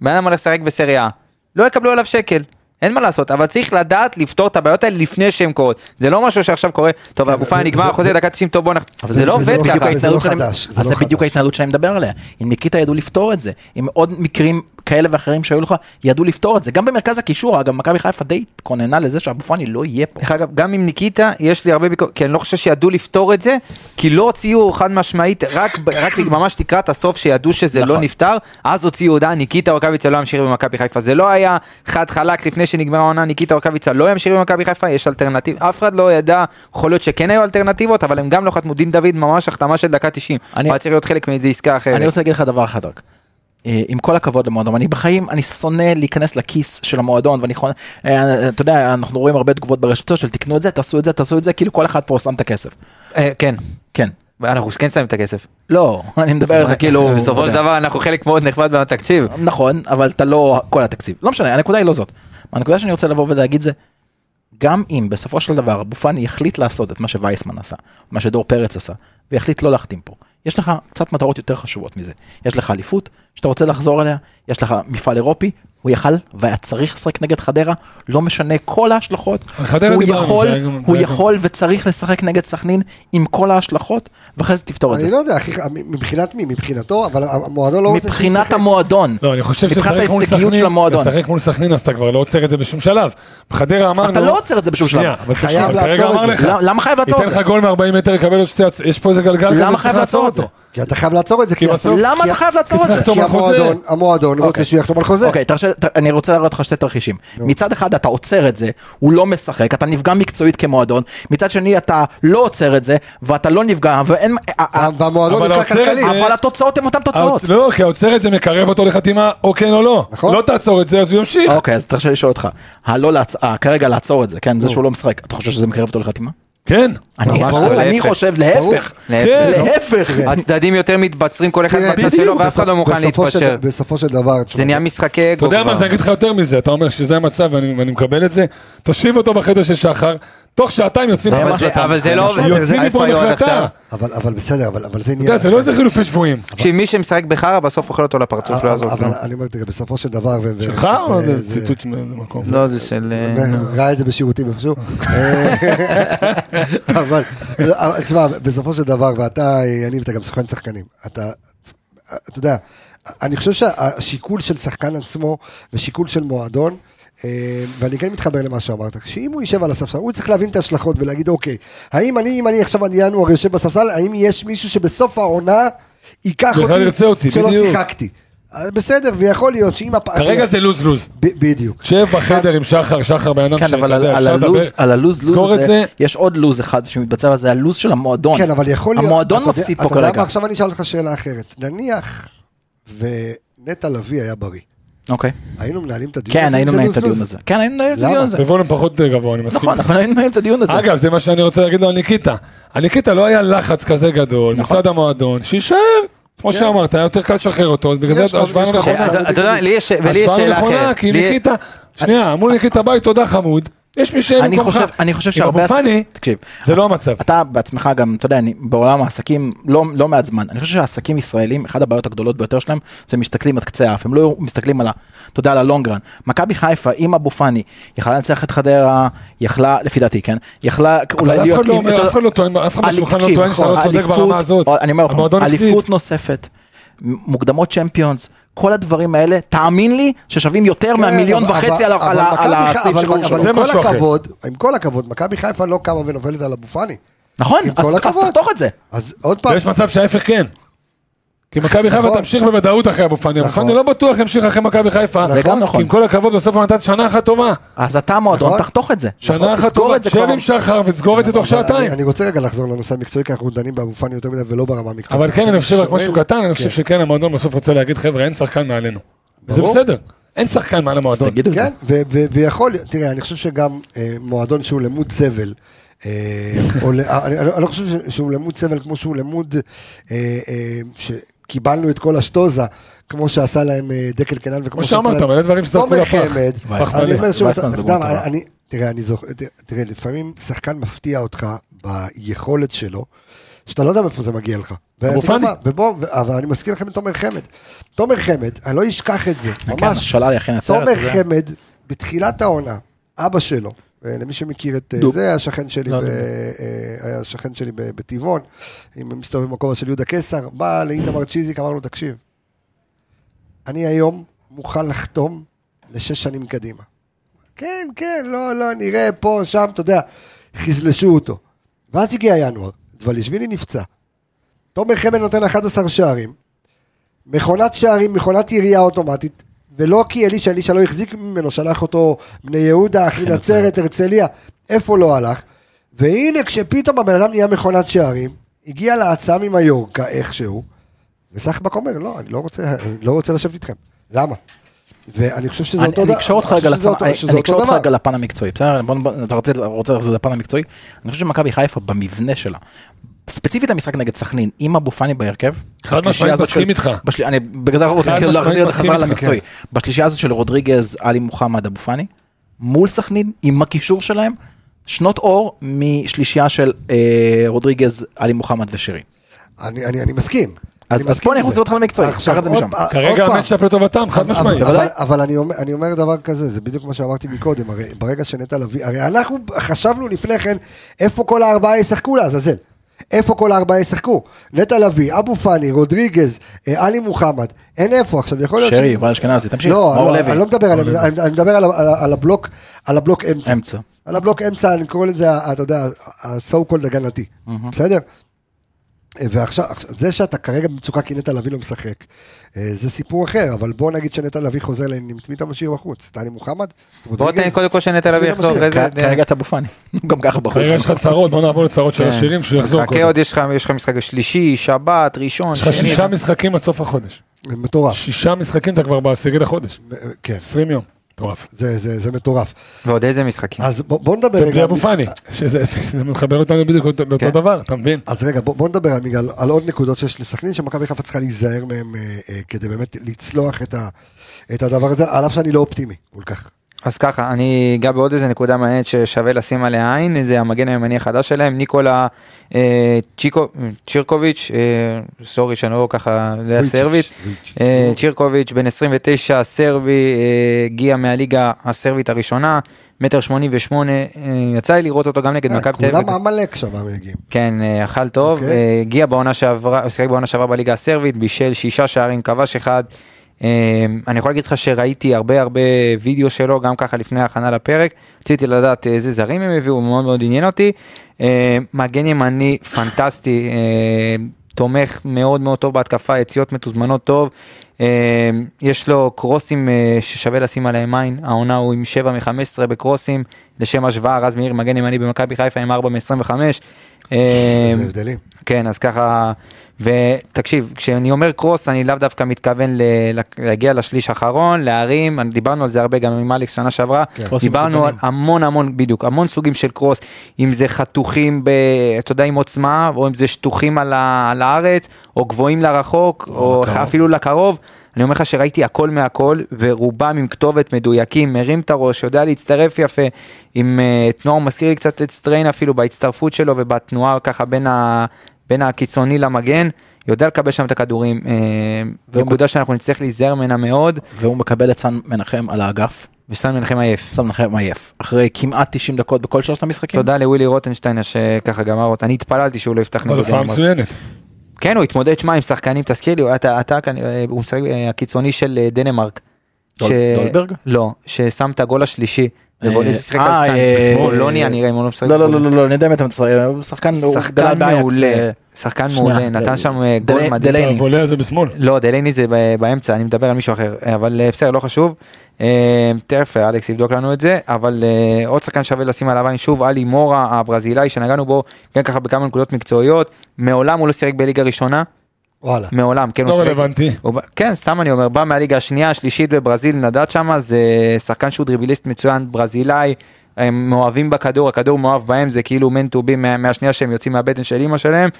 B: בן אדם הולך לשחק בסריה. לא יקבלו עליו שקל. אין מה לעשות, אבל צריך לדעת לפתור את הבעיות האלה לפני שהן קורות. זה לא משהו שעכשיו קורה, טוב,
A: כן,
B: הגופה
A: זה-
B: נגמר,
A: זה-
B: החוזה דקה 90, טוב בוא נח...
F: אבל
B: זה לא
A: וזה
B: עובד
A: לא
B: ככה.
A: חדש. זה לא
F: ההתנהלות שלהם-
A: חדש, זה
F: אז
A: לא
F: זה
A: חדש.
F: בדיוק ההתנהלות שאני מדבר עליה. אם ניקיטה ידעו לפתור את זה, עם עוד מקרים כאלה ואחרים שהיו לך, ידעו לפתור את זה. גם במרכז הקישור, אגב, מכבי חיפה די התכוננה לזה שאבו פאני לא יהיה פה.
B: דרך אגב, גם עם ניקיטה, יש לי הרבה ביקורת, כי אני לא חושב שידעו לפתור את זה, כי לא הוציאו חד משמעית, רק, ב- רק ממש לקראת הסוף שידעו שזה
F: נכון.
B: לא נפתר, אז הוציאו הודעה, ניקיטה אורקביצה לא ימשיך במכבי חיפה. זה לא היה חד חלק לפני שנגמרה העונה, ניקיטה אורקביצה לא ימשיך במכבי חיפה, יש אלטרנטיב, אף אחד לא ידע, יכול להיות שכן היו אלטרנטיבות, אבל הם גם לא חתמו, דין דוד ממש החתמה של דקה 90.
F: אני-
B: הוא היה צריך להיות חלק מאיזה עסקה אחרת.
F: אני רוצה להגיד לך דבר אחד רק. אה, עם כל הכבוד למועדון, אני בחיים, אני שונא להיכנס לכיס של המועדון, ואני יכול, אה, אתה יודע, אנחנו רואים הרבה תגובות ברשתות של תקנו את זה, תעשו את זה, תעשו את זה, כאילו כל אחד פה שם את הכסף.
B: אה, כן,
F: כן.
B: אנחנו כן שמים את הכסף.
F: לא, אני מדבר על זה כאילו...
B: בסופו של
F: אתה יודע.
B: דבר אנחנו חלק מאוד נכבד מהתקציב.
F: נכון, אבל אתה לא כל התקציב. לא משנה, הנקודה היא לא זאת. הנקודה שאני רוצה לבוא ולהגיד זה, גם אם בסופו של דבר אבו פאני יחליט לעשות את מה שווייסמן עשה, מה שדור פרץ עשה, ויחליט לא להחתים פה, יש לך קצת מטרות יותר חשובות מזה. יש לך אליפות, שאתה רוצה לחזור אליה, יש לך מפעל אירופי, הוא יכל והיה צריך לשחק נגד חדרה, לא משנה כל ההשלכות,
C: על חדרה
F: הוא
C: דיברנו,
F: יכול,
C: זה היה גם-
F: הוא
C: זה היה גם-
F: יכול וצריך לשחק נגד סכנין עם כל ההשלכות, ואחרי זה תפתור את זה.
A: אני לא יודע, אחי, מבחינת מי? מבחינתו, אבל המועדון לא רוצה... שהוא
F: מבחינת
A: ישחק.
F: המועדון,
C: לא, אני חושב
F: מבחינת
C: שלשחק מול
F: ההישגיות של
C: סכנין,
F: המועדון.
C: לשחק מול סכנין, אז אתה כבר לא עוצר את זה בשום שלב. בחדרה אמרנו...
F: אתה לא עוצר את זה בשום
C: שנייה,
F: שלב.
C: אבל תקשיב,
A: חייב
C: אבל
A: לעצור
C: כרגע
A: את
C: אמר
A: זה.
C: לך,
F: למה לא, למה חייב לעצור
C: ייתן
F: את זה?
C: לך גול מ-40 מטר, יקבל עוד שתי... הצ- יש פה איזה גלגל
F: למה
C: כזה,
F: חייב
C: צריך לעצור אותו.
A: כי אתה חייב לעצור את זה,
C: כי
A: כי
C: בסוף-
A: הסול-
F: למה
A: כי
F: אתה
A: ה-
F: חייב לעצור את
C: כי
F: זה?
C: צריך לחתום
A: כי
C: על חוזה.
A: המועדון, המועדון רוצה שהוא יחתום על חוזה.
F: אוקיי, תרשה, ת, אני רוצה להראות לך שתי תרחישים. מצד אחד אתה עוצר את זה, הוא לא משחק, אתה נפגע מקצועית כמועדון, מצד שני אתה לא עוצר את זה, ואתה לא נפגע, ואין... אה, אה,
A: והמועדון
C: אבל
A: נפגע
C: העוצר את
A: כלכלית.
C: זה-
F: אבל התוצאות הן אותן תוצאות.
C: האוצ- לא, כי העוצר את זה מקרב אותו לחתימה, או כן או לא.
A: נכון.
C: לא תעצור את זה, אז הוא ימשיך.
F: אוקיי, אז תרשה לי לשאול אותך, הלא לעצ... אה, כרגע לעצור את זה, כן, זה שהוא לא משחק, אתה חושב שזה מקרב אותו לחתימה?
C: כן.
F: אני,
B: ממש
F: אז
B: לא,
F: אני
B: להפך.
F: חושב להפך,
B: להפך.
F: להפך.
C: כן,
B: הצדדים יותר מתבצרים כל אחד
A: תראה,
B: בצד שלו ואף אחד לא
A: כן. בסופו-
B: מוכן
A: בסופו של-
B: להתפשר.
A: בסופו של דבר, תשמע,
B: זה נהיה
C: אתה
B: משחקי אגו.
C: יודע מה,
F: לא
B: כבר.
C: אז אני אגיד לך יותר מזה, אתה אומר שזה המצב ואני ואני מקבל את זה, תושיב אותו בחדר של שחר, תוך שעתיים יוצאים
B: אבל
C: מפה
B: זה-
C: החלטה.
B: אבל זה לא עובד.
C: יוצאים
B: איפה
C: מפה עם
B: היו עד
C: החלטה.
B: עכשיו?
A: אבל אבל בסדר, אבל אבל זה
C: אתה
A: נהיה...
C: יודע, זה לא איזה חילופי שבויים.
B: תקשיב, מי שמשחק בחרא בסוף אוכל אותו לפרצוף, לא
A: אבל
B: יעזור כלום.
A: אבל אני אומר, תראה, בסופו של דבר... ו- ו-
C: שלך או
F: אה,
A: ו-
C: זה
A: זה-
C: ציטוט של איזה מקום?
B: לא, זה של... אה,
A: ראה את זה בשירותים איפשהו. אה, אבל, אבל, תשמע, בסופו של דבר, ואתה, יניב, אתה גם סוכן שחקנים. אתה, אתה יודע, אני חושב שהשיקול של שחקן עצמו ושיקול של מועדון, אה, ואני כן מתחבר למה שאמרת, שאם הוא יישב על הספסל, הוא צריך להבין את ההשלכות ולהגיד, אוקיי, האם אני, אם אני עכשיו עד ינואר יושב בספסל, האם יש מישהו שבסוף העונה ייקח
C: בכלל ירצה אותי,
A: אותי, שלא
C: בדיוק.
A: שיחקתי? אה, בסדר, ויכול להיות שאם... הפ-
C: כרגע זה לוז-לוז.
A: ב- בדיוק.
C: שב בחדר עם שחר, שחר בן אדם
F: כן, אבל על- על הלוז, על הלוז, לוז
C: סגור את
F: הזה,
C: זה.
F: יש עוד לוז אחד שמתבצע, אבל זה הלוז של המועדון.
A: כן, אבל יכול להיות...
F: המועדון
A: אתה יודע-
F: מפסיד פה
A: אתה יודע מה,
F: כרגע.
A: עכשיו אני אשאל אותך שאלה אחרת. נניח ונטע לביא היה בריא,
F: אוקיי.
A: היינו מנהלים את הדיון הזה?
F: כן,
A: אם
F: היינו
A: זה לא
F: מנהלים את
A: לוז-לוז?
F: הדיון הזה. כן, היינו מנהלים את
A: למה?
F: הדיון הזה.
C: בוולם פחות גבוה, אני מסכים.
F: נכון, אבל היינו מנהלים את הדיון הזה.
C: אגב, זה מה שאני רוצה להגיד לו על ניקיטה. על ניקיטה לא היה לחץ כזה גדול
F: נכון. כן.
C: מצד המועדון, שיישאר. כמו שאמרת, היה יותר קל לשחרר אותו, אז בגלל זה
A: יש לו-
C: ההשוואה
A: יש לו-
C: הנכונה.
B: אתה אתה יודע, לי יש- ולי יש
C: השוואה
B: שאלה
C: נכונה,
B: אחרת.
C: כי
B: לי-
C: ניקיטה, שנייה, אמרו ניקיטה ביי, תודה חמוד. יש מי שאין
F: אני חושב, אני חושב שהרבה...
C: עם אבו פאני,
F: עסק- תקשיב,
C: זה לא המצב.
F: אתה בעצמך גם, אתה יודע, אני בעולם העסקים לא, לא מעט זמן. אני חושב שהעסקים ישראלים, אחת הבעיות הגדולות ביותר שלהם, זה מסתכלים עד קצה האף, הם לא מסתכלים על ה... אתה יודע, על הלונגרן. מכבי חיפה עם אבו פאני, יכלה לנצח את חדרה, יכלה, לפי דעתי, כן? יכלה אולי
C: אבל אף אחד
F: להיות...
C: לא
F: עם
C: אומר,
F: יותר-
C: אף אחד לא טוען, אף אחד
F: אלי-
C: בשולחן לא
F: תקשיב,
C: טוען שאתה
F: נכון,
C: לא צודק
F: אליפות-
C: ברמה הזאת.
F: אני אומר, עוד פעם,
C: המועדון הפסיד.
F: אליפות נוספת, מ- מוקדמות צ'מפיונס, כל הדברים האלה, תאמין לי, ששווים יותר
A: כן,
F: מהמיליון
A: אבל-
F: וחצי
A: אבל-
F: על ה-
A: אבל
F: על ה-
A: מכבי
F: על
A: חי-
F: הסעיף
A: אבל-
F: של גרוש.
A: אבל
C: זה
A: עם כל
C: משהו אחר.
A: הכבוד, עם כל הכבוד, מכבי חיפה לא קמה ונופלת על אבו פאני.
F: נכון,
A: עם
F: אז
A: כל
F: אז
A: הכבוד.
F: תחתוך את זה.
A: אז עוד פעם,
C: ויש מצב שההפך כן. כי מכבי חיפה
A: נכון.
C: תמשיך בוודאות אחרי אבו פאני, אבו
A: נכון.
C: פאני לא בטוח ימשיך אחרי מכבי חיפה.
F: זה גם נכון.
C: כי עם כל הכבוד בסוף הוא נתן שנה אחת טובה.
F: אז אתה המועדון,
A: נכון.
F: תחתוך את זה.
C: שנה
F: תחתוך-
C: אחת
F: תסגור
C: טובה,
F: את זה
C: שב
F: כבר. נכון,
C: עם שחר וסגור את זה תוך
A: אבל אני-
C: שעתיים.
A: אני רוצה רגע לחזור לנושא המקצועי, כי אנחנו דנים באבו פאני יותר מדי ולא ברמה המקצועית.
C: אבל כן, אני חושב רק
A: שואל-
C: משהו קטן, אני חושב
A: כן.
C: שכן המועדון בסוף רוצה להגיד חבר'ה אין שחקן מעלינו. וזה
A: ברור.
C: בסדר, אין שחקן מעל
F: אז
C: המועדון.
F: תגידו את זה.
A: כן, ו- ו- ויכול להיות, תראה, אני חושב שגם אה, מועדון שהוא למוד סבל, אה, או ל- אני אני- אני לא חושב ש- שהוא למוד סבל כמו שהוא למוד, אה, אה, שקיבלנו את כל השטוזה, כמו שעשה להם אה, דקל קנן וכמו
C: כמו שאמרת, מלא דברים
F: לא
C: שזרקו
A: עומר
C: לפח.
A: חמד,
C: פח
A: אני
C: מלא.
A: אומר שוב,
F: וייסמן
A: אתה-
F: זה
A: אתה יודע
F: דוגמה
A: מה,
F: טובה.
A: אני, תראה, אני זוכר, תראה, תראה, לפעמים שחקן מפתיע אותך ביכולת שלו, שאתה לא יודע מאיפה זה מגיע לך. ואתה יודע
C: פאני.
A: מה, ובוא, ו- אבל אני מזכיר לכם את תומר חמד. תומר חמד, אני לא אשכח את זה,
F: כן,
A: ממש.
F: שלל יכין עצרת.
A: תומר חמד, בתחילת העונה, אבא שלו, אה, למי שמכיר את אה,
F: דו.
A: זה, השכן שלי,
B: לא,
A: ב-
B: לא.
A: אה, היה שכן שלי ב- בטבעון, עם מסתובב בכובע של יהודה קיסר, בא לאיתמר צ'יזיק, אמר לו, תקשיב, אני היום מוכן לחתום לשש שנים קדימה. כן, כן, לא, לא, נראה פה, שם, אתה יודע, חזלשו אותו. ואז הגיע ינואר, דבלישווילי נפצע. תומר חמד נותן 11 שערים, מכונת שערים, מכונת ירייה אוטומטית, ולא כי אלישע, אלישע לא החזיק ממנו, שלח אותו בני יהודה, אחי
F: כן,
A: נצרת,
F: נכון.
A: הרצליה, איפה לא הלך. והנה כשפתאום הבן אדם נהיה מכונת שערים, הגיע להצעה ממיורקה איכשהו, וסחבק אומר, לא, אני לא רוצה, אני לא רוצה לשבת איתכם. למה? ואני חושב שזה
F: אני-
A: אותו
F: אני
A: דבר.
F: אקשור אותך רגע
A: אני חושב שזה
F: לפן-
A: אותו-
F: אני-
A: שזה
F: אני
A: אותו
F: אקשור אותך
A: דבר.
F: רגע לפן המקצועי, בסדר? בוא- בוא- אתה רוצה- רוצה ללכת לפן המקצועי? אני חושב שמכבי חיפה במבנה שלה, ספציפית המשחק נגד סכנין, עם אבו פאני בהרכב,
C: חד
F: בשלישייה
C: משמעית,
F: הזאת
C: מסכים
F: של-
C: איתך.
F: בשל- אני בגלל זה אנחנו רוצים
C: חד
F: כאילו
C: משמעית,
F: להחזיר את זה
C: מסכים
F: חזרה
C: איתך, כן.
F: למקצועי. בשלישייה הזאת של רודריגז, עלי מוחמד, אבו פאני, מול סכנין, עם הקישור שלהם, שנות אור משלישייה של אה, רודריגז, עלי מוחמד ושירי.
A: אני, אני, אני מסכים.
F: אז-
A: אני
F: אז פה אני
A: מסכים
F: אחזיר
A: עם
F: אותך למקצועי,
A: עכשיו,
F: קח את זה
A: עוד
F: משם.
A: פע- עוד
C: כרגע
A: פעם.
C: המצ'אפ לטובתם, חד משמעית.
A: אבל,
F: בוודאי.
A: אבל אני, אומר, אני אומר דבר כזה, זה בדיוק מה שאמרתי מקודם, הרי ברגע שנטע לביא, הרי אנחנו חשבנו לפני כן, איפה כל הארבעה ישחקו לעזאזל? איפה כל הארבעה ישחקו? נטע לביא, אבו פאני, רודריגז, אה, עלי מוחמד, אין איפה עכשיו, יכול להיות...
F: שרי,
A: ש-
F: יובל אשכנזי, תמשיך,
A: לא,
F: מאור
A: לא,
F: לוי.
A: אני לא מדבר עליהם, אני אני מדבר על ה- על ה- על הבלוק, על הבלוק אמצע.
F: אמצע.
A: על הבלוק אמצע, אני קורא לזה, ה- אתה יודע, ה-so called הגנתי, בסדר? אה, ועכשיו, עכשיו, זה שאתה כרגע במצוקה כי נטע לביא לא משחק, אה, זה סיפור אחר, אבל בוא נגיד שנטע לביא חוזר לעניינים, את מי אתה משאיר בחוץ? את טלי מוחמד? את
B: בוא
A: רודריגז?
B: תן קודם כל שנטע לביא
A: תמיד
B: יחזור,
A: אתה
B: אחרי זה...
F: כ- כרגע אתה אבו פאני, גם ככה בחוץ.
C: כרגע יש לך צרות, בוא נעבור לצרות של
B: כן.
C: השירים, שהוא יחזור
B: חכה
C: קודם.
B: עוד, יש לך- יש לך משחק שלישי, שבת, ראשון,
C: יש לך
B: שני.
C: שישה משחקים עד סוף החודש.
A: מטורף,
C: שישה משחקים אתה כבר בעשירי לחודש.
A: אה, כן,
C: 20 יום. מטורף.
A: זה- זה זה מטורף.
B: ועוד איזה משחקים.
A: אז בוא- בוא נדבר
C: ובלי
A: רגע,
C: אבו פאני, שזה זה מחבר אותנו בדיוק לאותו- לאותו
B: כן.
C: דבר, אתה מבין?
A: אז רגע, בוא, בוא נדבר עמיגה, על, על עוד נקודות שיש לסכנין, שמכבי חיפה צריכה להיזהר מהם אה, אה, כדי באמת לצלוח את, ה, את הדבר הזה, על אף שאני לא אופטימי כל כך.
B: אז ככה, אני אגע בעוד איזה נקודה מעניינת ששווה לשים עליה עין, זה המגן הימני החדש שלהם, ניקולה אה, צ'יקו, צ'ירקוביץ', אה, סורי שאני לא ככה יודע
A: ויצ'יץ',
B: סרבית,
A: ויצ'יץ'.
B: אה, צ'ירקוביץ', בן 29, סרבי, אה, הגיע מהליגה הסרבית הראשונה, מטר 88, אה, יצא לי לראות אותו גם נגד
A: אה,
B: מכבי תל אביב.
A: כולם עמלק שם הם מגיעים.
B: כן, אה, אכל טוב,
A: אוקיי.
B: אה, הגיע בעונה שעברה, שיחק בעונה שעברה בליגה הסרבית, בישל שישה שערים, כבש אחד. אה, אני יכול להגיד לך שראיתי הרבה הרבה וידאו שלו, גם ככה לפני ההכנה לפרק. רציתי לדעת איזה זרים הם הביאו, מאוד מאוד עניין אותי. אה, מגן ימני פנטסטי, אה, תומך מאוד מאוד טוב בהתקפה, יציאות מתוזמנות טוב. אה, יש לו קרוסים אה, ששווה לשים עליהם עין, העונה הוא עם 7 מ-15 בקרוסים, לשם השוואה רז מאיר מגן ימני במכבי חיפה עם 4 מ-25.
A: זה הבדלים.
B: כן, אז ככה, ותקשיב, כשאני אומר קרוס, אני לאו דווקא מתכוון ל... להגיע לשליש האחרון, להרים, אני- דיברנו על זה הרבה גם עם אלכס שנה שעברה,
A: כן.
B: קרוסים דיברנו על המון המון, בדיוק, המון סוגים של קרוס, אם זה חתוכים, ב... אתה יודע, עם עוצמה, או אם זה שטוחים על, ה... על הארץ, או גבוהים לרחוק, או לקרוב. אפילו לקרוב. אני אומר לך שראיתי הכל מהכל, ורובם עם כתובת מדויקים, מרים את הראש, יודע להצטרף יפה, עם אה, תנועה, הוא מזכיר לי קצת את סטריין אפילו בהצטרפות שלו ובתנועה ככה בין, ה... בין הקיצוני למגן, יודע לקבל שם את הכדורים, אה,
F: והוא-
B: נקודה שאנחנו נצטרך להיזהר ממנה מאוד,
F: והוא מקבל את סן מנחם על האגף,
B: וסתם מנחם עייף.
F: סן מנחם עייף, אחרי כמעט 90 דקות בכל שלושת המשחקים.
B: תודה לווילי רוטנשטיין שככה גמר אותה, אני התפללתי שהוא לא יפתח
C: אבל
B: נגד
C: הופעה
B: דנמרק.
C: מצוינת.
B: כן, הוא התמודד, שמע, עם שחקנים, תזכיר לי, הוא היה- אתה, אתה כאן, אה, הוא משחק אה, הקיצוני של אה, דנמרק.
F: דול- דולברג?
B: לא, ששם את הגול השלישי.
F: אה,
B: ובוליס שיחק
F: אה,
B: על סן,
F: אה,
B: בשמאלוניה נראה אם הוא לא משחק.
F: לא לא
B: בגול.
F: לא לא לא, אני יודע מי אתה מצטער, הוא שחקן הוא גדל
B: שחקן
F: באייקס,
B: מעולה,
F: אה,
B: שחקן
F: שנייה,
B: מעולה, נתן
F: דל-
B: שם אה, גול
F: דל-
B: מדהים.
F: דלייני.
C: אבל עולה זה בשמאל.
B: לא, דלייני זה ב- באמצע, אני מדבר על מישהו אחר, אבל אה, בסדר, לא חשוב. אה, תכף אה, אלכס יבדוק לנו את זה, אבל אה, עוד שחקן שווה לשים עליו עין שוב, עלי מורה הברזילאי שנגענו בו, גם ככה בכמה נקודות מקצועיות, מעולם הוא לא שיחק בליגה ראשונה,
A: וואלה.
B: מעולם, כן הוא
C: לא
B: שיחק.
C: רלוונטי.
B: הוא, בא- כן, סתם אני אומר, בא מהליגה השנייה, השלישית בברזיל, נדד שמה, זה שחקן שהוא דריבליסט מצוין, ברזילאי, הם מאוהבים בכדור, הכדור מאוהב בהם, זה כאילו מן טו בי מה- מהשנייה שהם יוצאים מהבטן של אימא שלהם.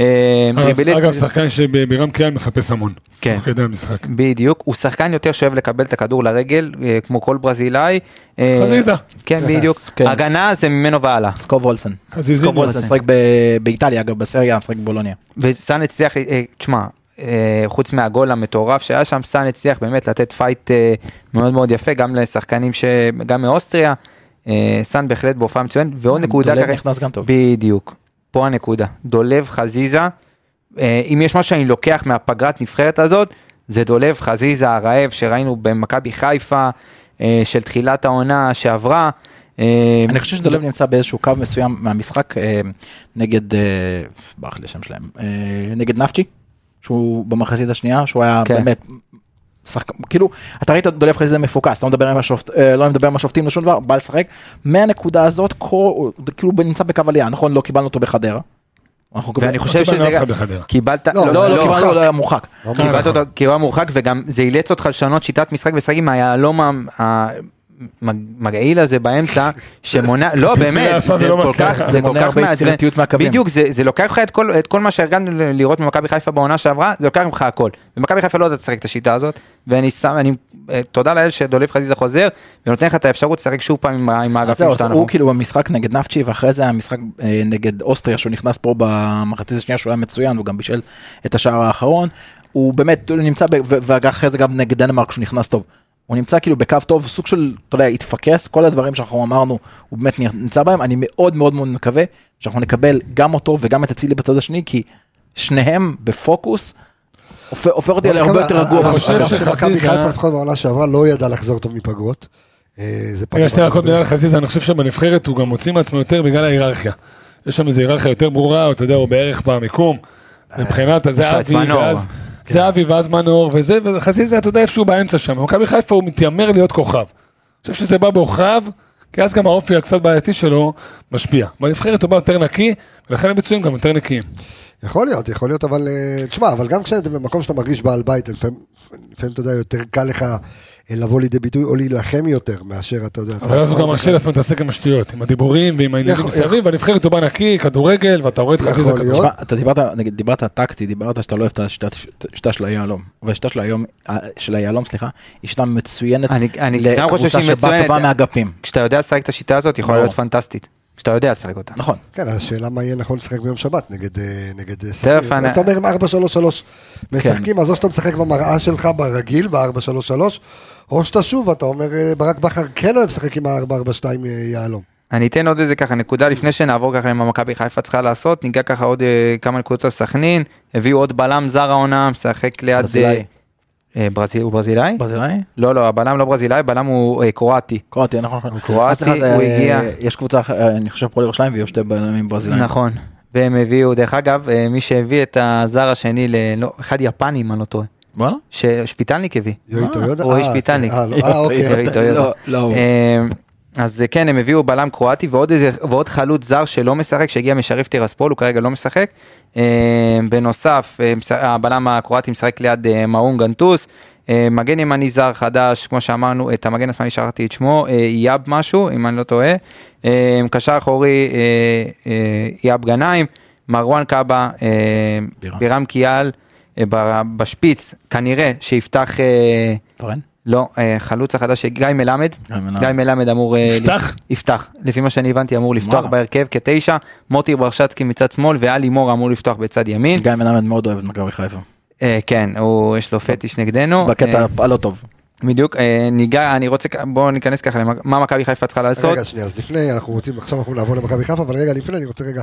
B: אה,
C: אגב,
B: דריבליסט,
C: אגב, שחקן שבירם קיאל מחפש המון.
B: כן.
C: תוך כדי המשחק.
B: בדיוק, הוא שחקן יותר שאוהב לקבל את הכדור לרגל, אה, כמו כל ברזילאי. אה,
C: חזיזה.
B: כן, בדיוק.
F: כן.
B: הגנה זה ממנו והלאה.
F: סקוב וולסן.
C: חזיזים.
F: סקוב וולסן משחק ב- באיטליה אגב בסריה משחק בבולוניה.
B: וסאן הצליח, אה, תשמע, אה, חוץ מהגול המטורף שהיה שם, סאן הצליח באמת לתת פייט אה, מאוד מאוד יפה, גם לשחקנים, ש... גם מאוסטריה. אה, סאן בהחלט בהופעה מצוינת, ועוד נקודה
F: דולב
B: ככה-
F: נכנס גם טוב.
B: בדיוק, פה הנקודה. דולב חזיזה, אה, אם יש משהו שאני לוקח מהפגרת נבחרת הזאת, זה דולב חזיזה הרעב שראינו במכבי חיפה אה, של תחילת העונה שעברה. אה,
F: אני חושב שדולב נמצא באיזשהו קו מסוים מהמשחק אה, נגד, אה, ברח לי השם שלהם, אה, נגד נפצ'י, שהוא במחצית השנייה, שהוא היה
B: כן.
F: באמת... שחק... כאילו אתה ראית את דולב חזיזה מפוקס לא מדבר עם השופט אה, לא מדבר עם השופטים לא שום דבר בא לשחק מהנקודה הזאת כל... כאילו הוא נמצא בקו עלייה נכון לא קיבלנו אותו בחדרה. אנחנו
B: ואני
F: קיבלנו-
B: חושב
C: קיבלנו
B: שזה
C: אף
B: גם,
C: אחד בחדרה.
B: קיבלת,
A: לא,
F: לא לא קיבלנו
A: מורחק.
F: לא היה מורחק.
B: קיבלת אותו כי הוא היה מורחק וגם זה אילץ אותך לשנות שיטת משחק ולשחק עם היהלום המגעיל הזה באמצע שמונע לא
C: הפסמילה
B: באמת
C: אף פעם
B: זה
C: לא
B: כל
C: מצליח.
B: כך
F: זה
B: זה כל
F: מונע
B: כך
F: הרבה
B: מעצבן
F: יצירתיות מהקווים.
B: בדיוק זה זה לוקח לך את כל את כל מה שהרגלנו ל- לראות ממכבי חיפה בעונה שעברה זה לוקח ממך הכל ומכבי חיפה לא יודעת לשחק את השיטה הזאת ואני שם אני אה, תודה לאל שדולב חזיזה חוזר ונותן לך את האפשרות לשחק שוב פעם עם ה- עם
F: אז
B: האגפים
F: זהו, אז
B: שלנו.
F: הוא כאילו במשחק נגד נפצ'י ואחרי זה המשחק אה, נגד אוסטריה שהוא נכנס פה במחצית השנייה שהוא היה מצוין הוא גם בישל את השער האחרון. הוא באמת הוא נמצא ב- ו- ואחרי זה גם נגד דנמרק שהוא נכנס טוב. הוא נמצא כאילו בקו טוב סוג של אתה יודע התפקס כל הדברים שאנחנו אמרנו הוא באמת נמצא בהם אני מאוד מאוד מאוד מקווה שאנחנו נקבל גם אותו וגם את אצילי בצד השני כי שניהם בפוקוס. הופ- הופך אותי להרבה יותר רגוע.
A: אני
F: במשחק.
A: חושב
C: לא, חושב
A: שמכבי
C: שחזיזה-
A: חיפה לפחות בעונה שעברה לא ידעה לחזור טוב מפגרות. אה, זה פגע
C: רגע, שתי דקות
A: הרבה.
C: מילה לחזיזה, אני חושב שבנבחרת הוא גם מוציא מעצמו יותר בגלל ההיררכיה. יש שם איזו היררכיה יותר ברורה, אתה יודע, הוא בערך במיקום.
A: אה,
C: מבחינת
B: יש לך
C: זה
B: את
C: אבי,
B: מנור.
C: ואז
A: כן.
C: זה אבי ואז מנור, וזה, וחזיזה, אתה יודע, איפשהו באמצע שם. מכבי חיפה הוא מתיימר להיות כוכב. אני חושב שזה בא בעוכריו, כי אז גם האופי הקצת בעייתי שלו משפיע. בנבחרת הוא בא יותר נקי, ולכן הביצועים גם יותר נקיים.
A: יכול להיות, יכול להיות, אבל אה, תשמע, אבל גם כשאתה במקום שאתה מרגיש בעל בית, לפעמים, לפעמים, אתה יודע, יותר קל לך אה, לבוא לידי ביטוי או להילחם יותר מאשר אתה יודע.
C: אבל
A: אתה-
C: אז הוא גם מרשה לעצמו להתעסק עם השטויות, עם הדיבורים ועם העניינים
A: יכול-
C: מסביב, בנבחרת הוא בא נקי, כדורגל, ואתה רואה את
A: יכול
C: חזיזה
A: להיות.
C: כדורגל.
F: תשמע, אתה דיברת, נגיד, דיברת טקטי, דיברת שאתה לא אוהב את השיטת- השיטה של היהלום. אבל השיטה של היום, של היהלום, סליחה, היא שיטה מצוינת
B: אני- אני גם חושב
F: לקבוצה
B: שהיא
F: שבאה
B: מצוינת.
F: טובה מאגפים.
B: כשאתה יודע לשחק את השיטה הזאת יכולה
F: ברור.
B: להיות פנטסטית כשאתה יודע לשחק אותה.
F: נכון.
A: כן, השאלה מה יהיה נכון לשחק ביום שבת נגד אה, נגד אה, סכנין.
B: אני-
A: אתה אומר עם 4-3-3 משחקים, אז או שאתה משחק במראה שלך ברגיל, ב-4-3-3, או שאתה שוב, אתה אומר, אה, ברק בכר כן אוהב לשחק עם ה-4-4-2 אה, יהלום.
B: אני אתן עוד איזה ככה נקודה לפני שנעבור ככה למה מכבי חיפה צריכה לעשות ניגע ככה עוד אה, כמה נקודות על סכנין הביאו עוד בלם זר העונה משחק ליד
F: ברזילאי.
B: אה, אה, ברזיל הוא ברזילאי
F: ברזילאי?
B: לא לא הבלם לא ברזילאי בלם הוא אה, קרואטי
F: קרואטי, נכון. נכון.
B: קרואטי,
F: סליחה, זה,
B: הוא
F: אה,
B: הגיע.
F: יש קבוצה, אחרת, אה, אני חושב, פועל ירושלים, ויהיו שתי בלמים ברזילאים.
B: נכון והם הביאו דרך אגב אה, מי שהביא את הזר השני ל... לא, אחד יפני אם אני לא טועה
F: וואלה?
B: ששפיטלניק הביא
A: יואיטו יודה?
B: רועי
A: אה,
B: שפיטלניק.
A: אה, לא, אה, אוקיי.
B: יואיטו יודה.
F: לא, לא הוא.
B: אמ, אז אה, כן, הם הביאו בלם קרואטי ועוד איזה, ועוד חלוץ זר שלא משחק, שהגיע משריף טירספול, הוא כרגע לא משחק. אמ, בנוסף, אמ, מש- הבלם הקרואטי משחק ליד אה, מאון גנטוס. אה, מגן ימני זר חדש, כמו שאמרנו, את המגן השמאלי שכחתי את שמו, אה, יאב משהו, אם אני לא טועה. אה, קשר אחורי, אה, אה, יאב גנאים, מרואן קאבה, אה,
F: בירם.
B: בירם קיאל, אה, ב- בשפיץ, כנראה שיפתח... אה,
F: פרן?
B: לא, אה, חלוץ החדש, גיא מלמד,
F: גיא מלמד.
B: גיא מלמד אמור... אה,
C: יפתח?
B: ל- יפתח, לפי מה שאני הבנתי אמור לפתוח
F: וואלה.
B: בהרכב כתשע, מוטי ברשצקי מצד שמאל ואלי מור אמור לפתוח בצד ימין,
F: גיא מלמד מאוד אוהב את מכבי חיפה.
B: אה, כן, הוא יש לו פטיש נגדנו,
F: בקטע
B: אה,
F: הלא טוב.
B: בדיוק, אה, ניגע, אני רוצה, בואו ניכנס ככה למה מה מכבי חיפה צריכה לעשות,
A: רגע, שנייה, אז לפני, אנחנו רוצים, עכשיו אנחנו נעבור למכבי חיפה, אבל רגע, לפני, אני רוצה רגע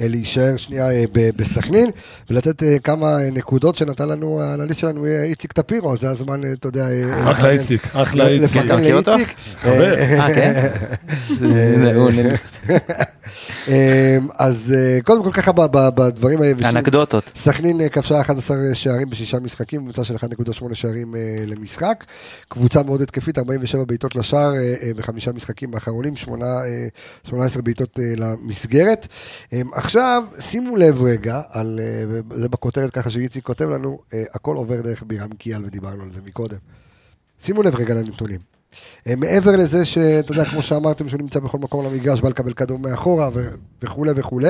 A: אה, להישאר שנייה אה, ב- בסכנין, ולתת אה, כמה אה, נקודות שנתן לנו, האנליסט שלנו, אה, איציק טפירו, אז זה הזמן, אה, אתה יודע... אה,
C: אחלה
A: אה,
C: איציק, אחלה איציק.
A: לפרגן
B: מכיר אותו?
A: לאיציק.
C: חבר.
A: אה,
B: אה, כן? זה- זה- הוא-
A: אה, אז אה, קודם כל ככה ב- ב- בדברים אה, היבשים.
B: אנקדוטות,
A: סכנין אה, כבשה 11 שערים בשישה משחקים, קבוצה של 1.8 שערים אה, למשחק. קבוצה מאוד התקפית, 47 בעיטות לשער אה, אה, בחמישה משחקים האחרונים, שמונה, אה, 18 בעיטות אה, למסגרת. אה, עכשיו, שימו לב רגע, על, אה, זה בכותרת ככה שאיציק כותב לנו, אה, הכל עובר דרך בירם קיאל ודיברנו על זה מקודם. שימו לב רגע לנתונים. אה, מעבר לזה שאתה יודע, כמו שאמרתם, שהוא נמצא בכל מקום על המגרש, בא לקבל כדור מאחורה ו- וכולי וכולי,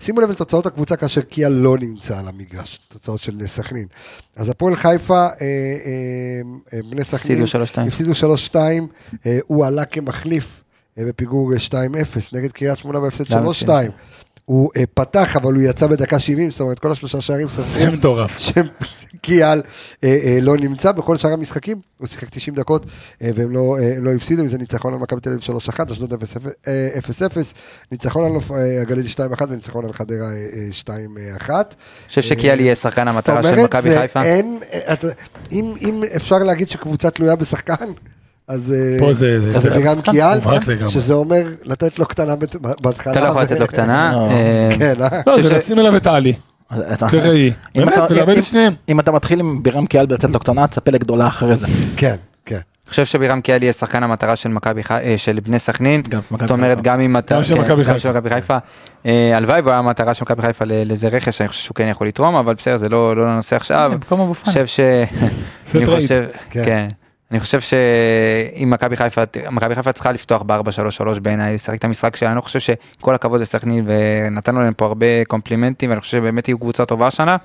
A: שימו לב לתוצאות הקבוצה כאשר קיה לא נמצא על המגרש, תוצאות של אה, סכנין. אז הפועל חיפה, אה, אה, אה, בני סכנין,
B: הפסידו 3-2.
A: הפסידו 3-2, אה, הוא עלה כמחליף אה, בפיגור אה, 2-0, נגד קריית שמונה בהפסד
B: למה
A: 3-2. הוא אה, פתח, אבל הוא יצא בדקה 70, זאת אומרת, כל השלושה שערים
C: זה
A: סופרים
C: מטורף.
A: שקיאל אה, אה, לא נמצא בכל שאר המשחקים, הוא שיחק 90 דקות אה, והם לא, אה, לא הפסידו, אם זה ניצחון על מכבי תל אביב 3-1, אשדוד 0-0, אה, 0-0, ניצחון על נוף, אה, הגליל 2-1 וניצחון על חדרה אה, אה, 2-1.
B: אני חושב שקיאל יהיה שחקן המטרה
A: זאת
B: של
A: אומרת,
B: מכבי
A: זה
B: חיפה.
A: אין, אה, אתה- אם אם אפשר להגיד שקבוצה תלויה בשחקן, אז אה,
C: פה זה- זה-
A: אז
C: זה
A: לירן
F: בשחקן,
A: קיאל,
C: מובהק לגמרי.
A: שזה אומר לתת לו קטנה בת- בהתחלה.
B: אתה לא יכול לתת לו קטנה.
F: לא.
B: אה,
A: כן, אה?
C: לא,
B: שזה-
C: זה לשים אליו את עלי,
F: אתה-
C: כראי.
F: אם
C: באמת,
F: אתה-
C: תלמד
F: אם-
C: את שניהם.
F: אם אתה מתחיל עם בירם קיאל ולתת לו קטנה, תצפה לגדולה אחרי זה.
A: כן, כן.
B: אני חושב שבירם קיאל יהיה שחקן המטרה של מכבי חיפה, אה, של בני סכנין,
F: גם של מכבי
B: זאת אומרת
F: חיפה.
B: גם אם אתה,
C: גם של
B: כן,
C: מכבי
B: גם
C: חיפה.
B: של מכבי חיפה, אה, הלוואי והוא היה המטרה של מכבי חיפה ל- לאיזה רכש, אני חושב שהוא כן יכול לתרום, אבל בסדר זה לא לא הנושא עכשיו,
F: כן, במקום אבו
B: אני חושב ש...
C: זה
B: אני
C: טרייד.
B: חושב-
A: כן.
B: כן. אני חושב שאם מכבי חיפה, מכבי חיפה צריכה לפתוח ב-4-3-3 בעיניי, לשחק את המשחק שלה, אני לא חושב שכל הכבוד לסכנין ונתנו להם פה הרבה קומפלימנטים, ואני חושב שבאמת יהיו קבוצה טובה השנה,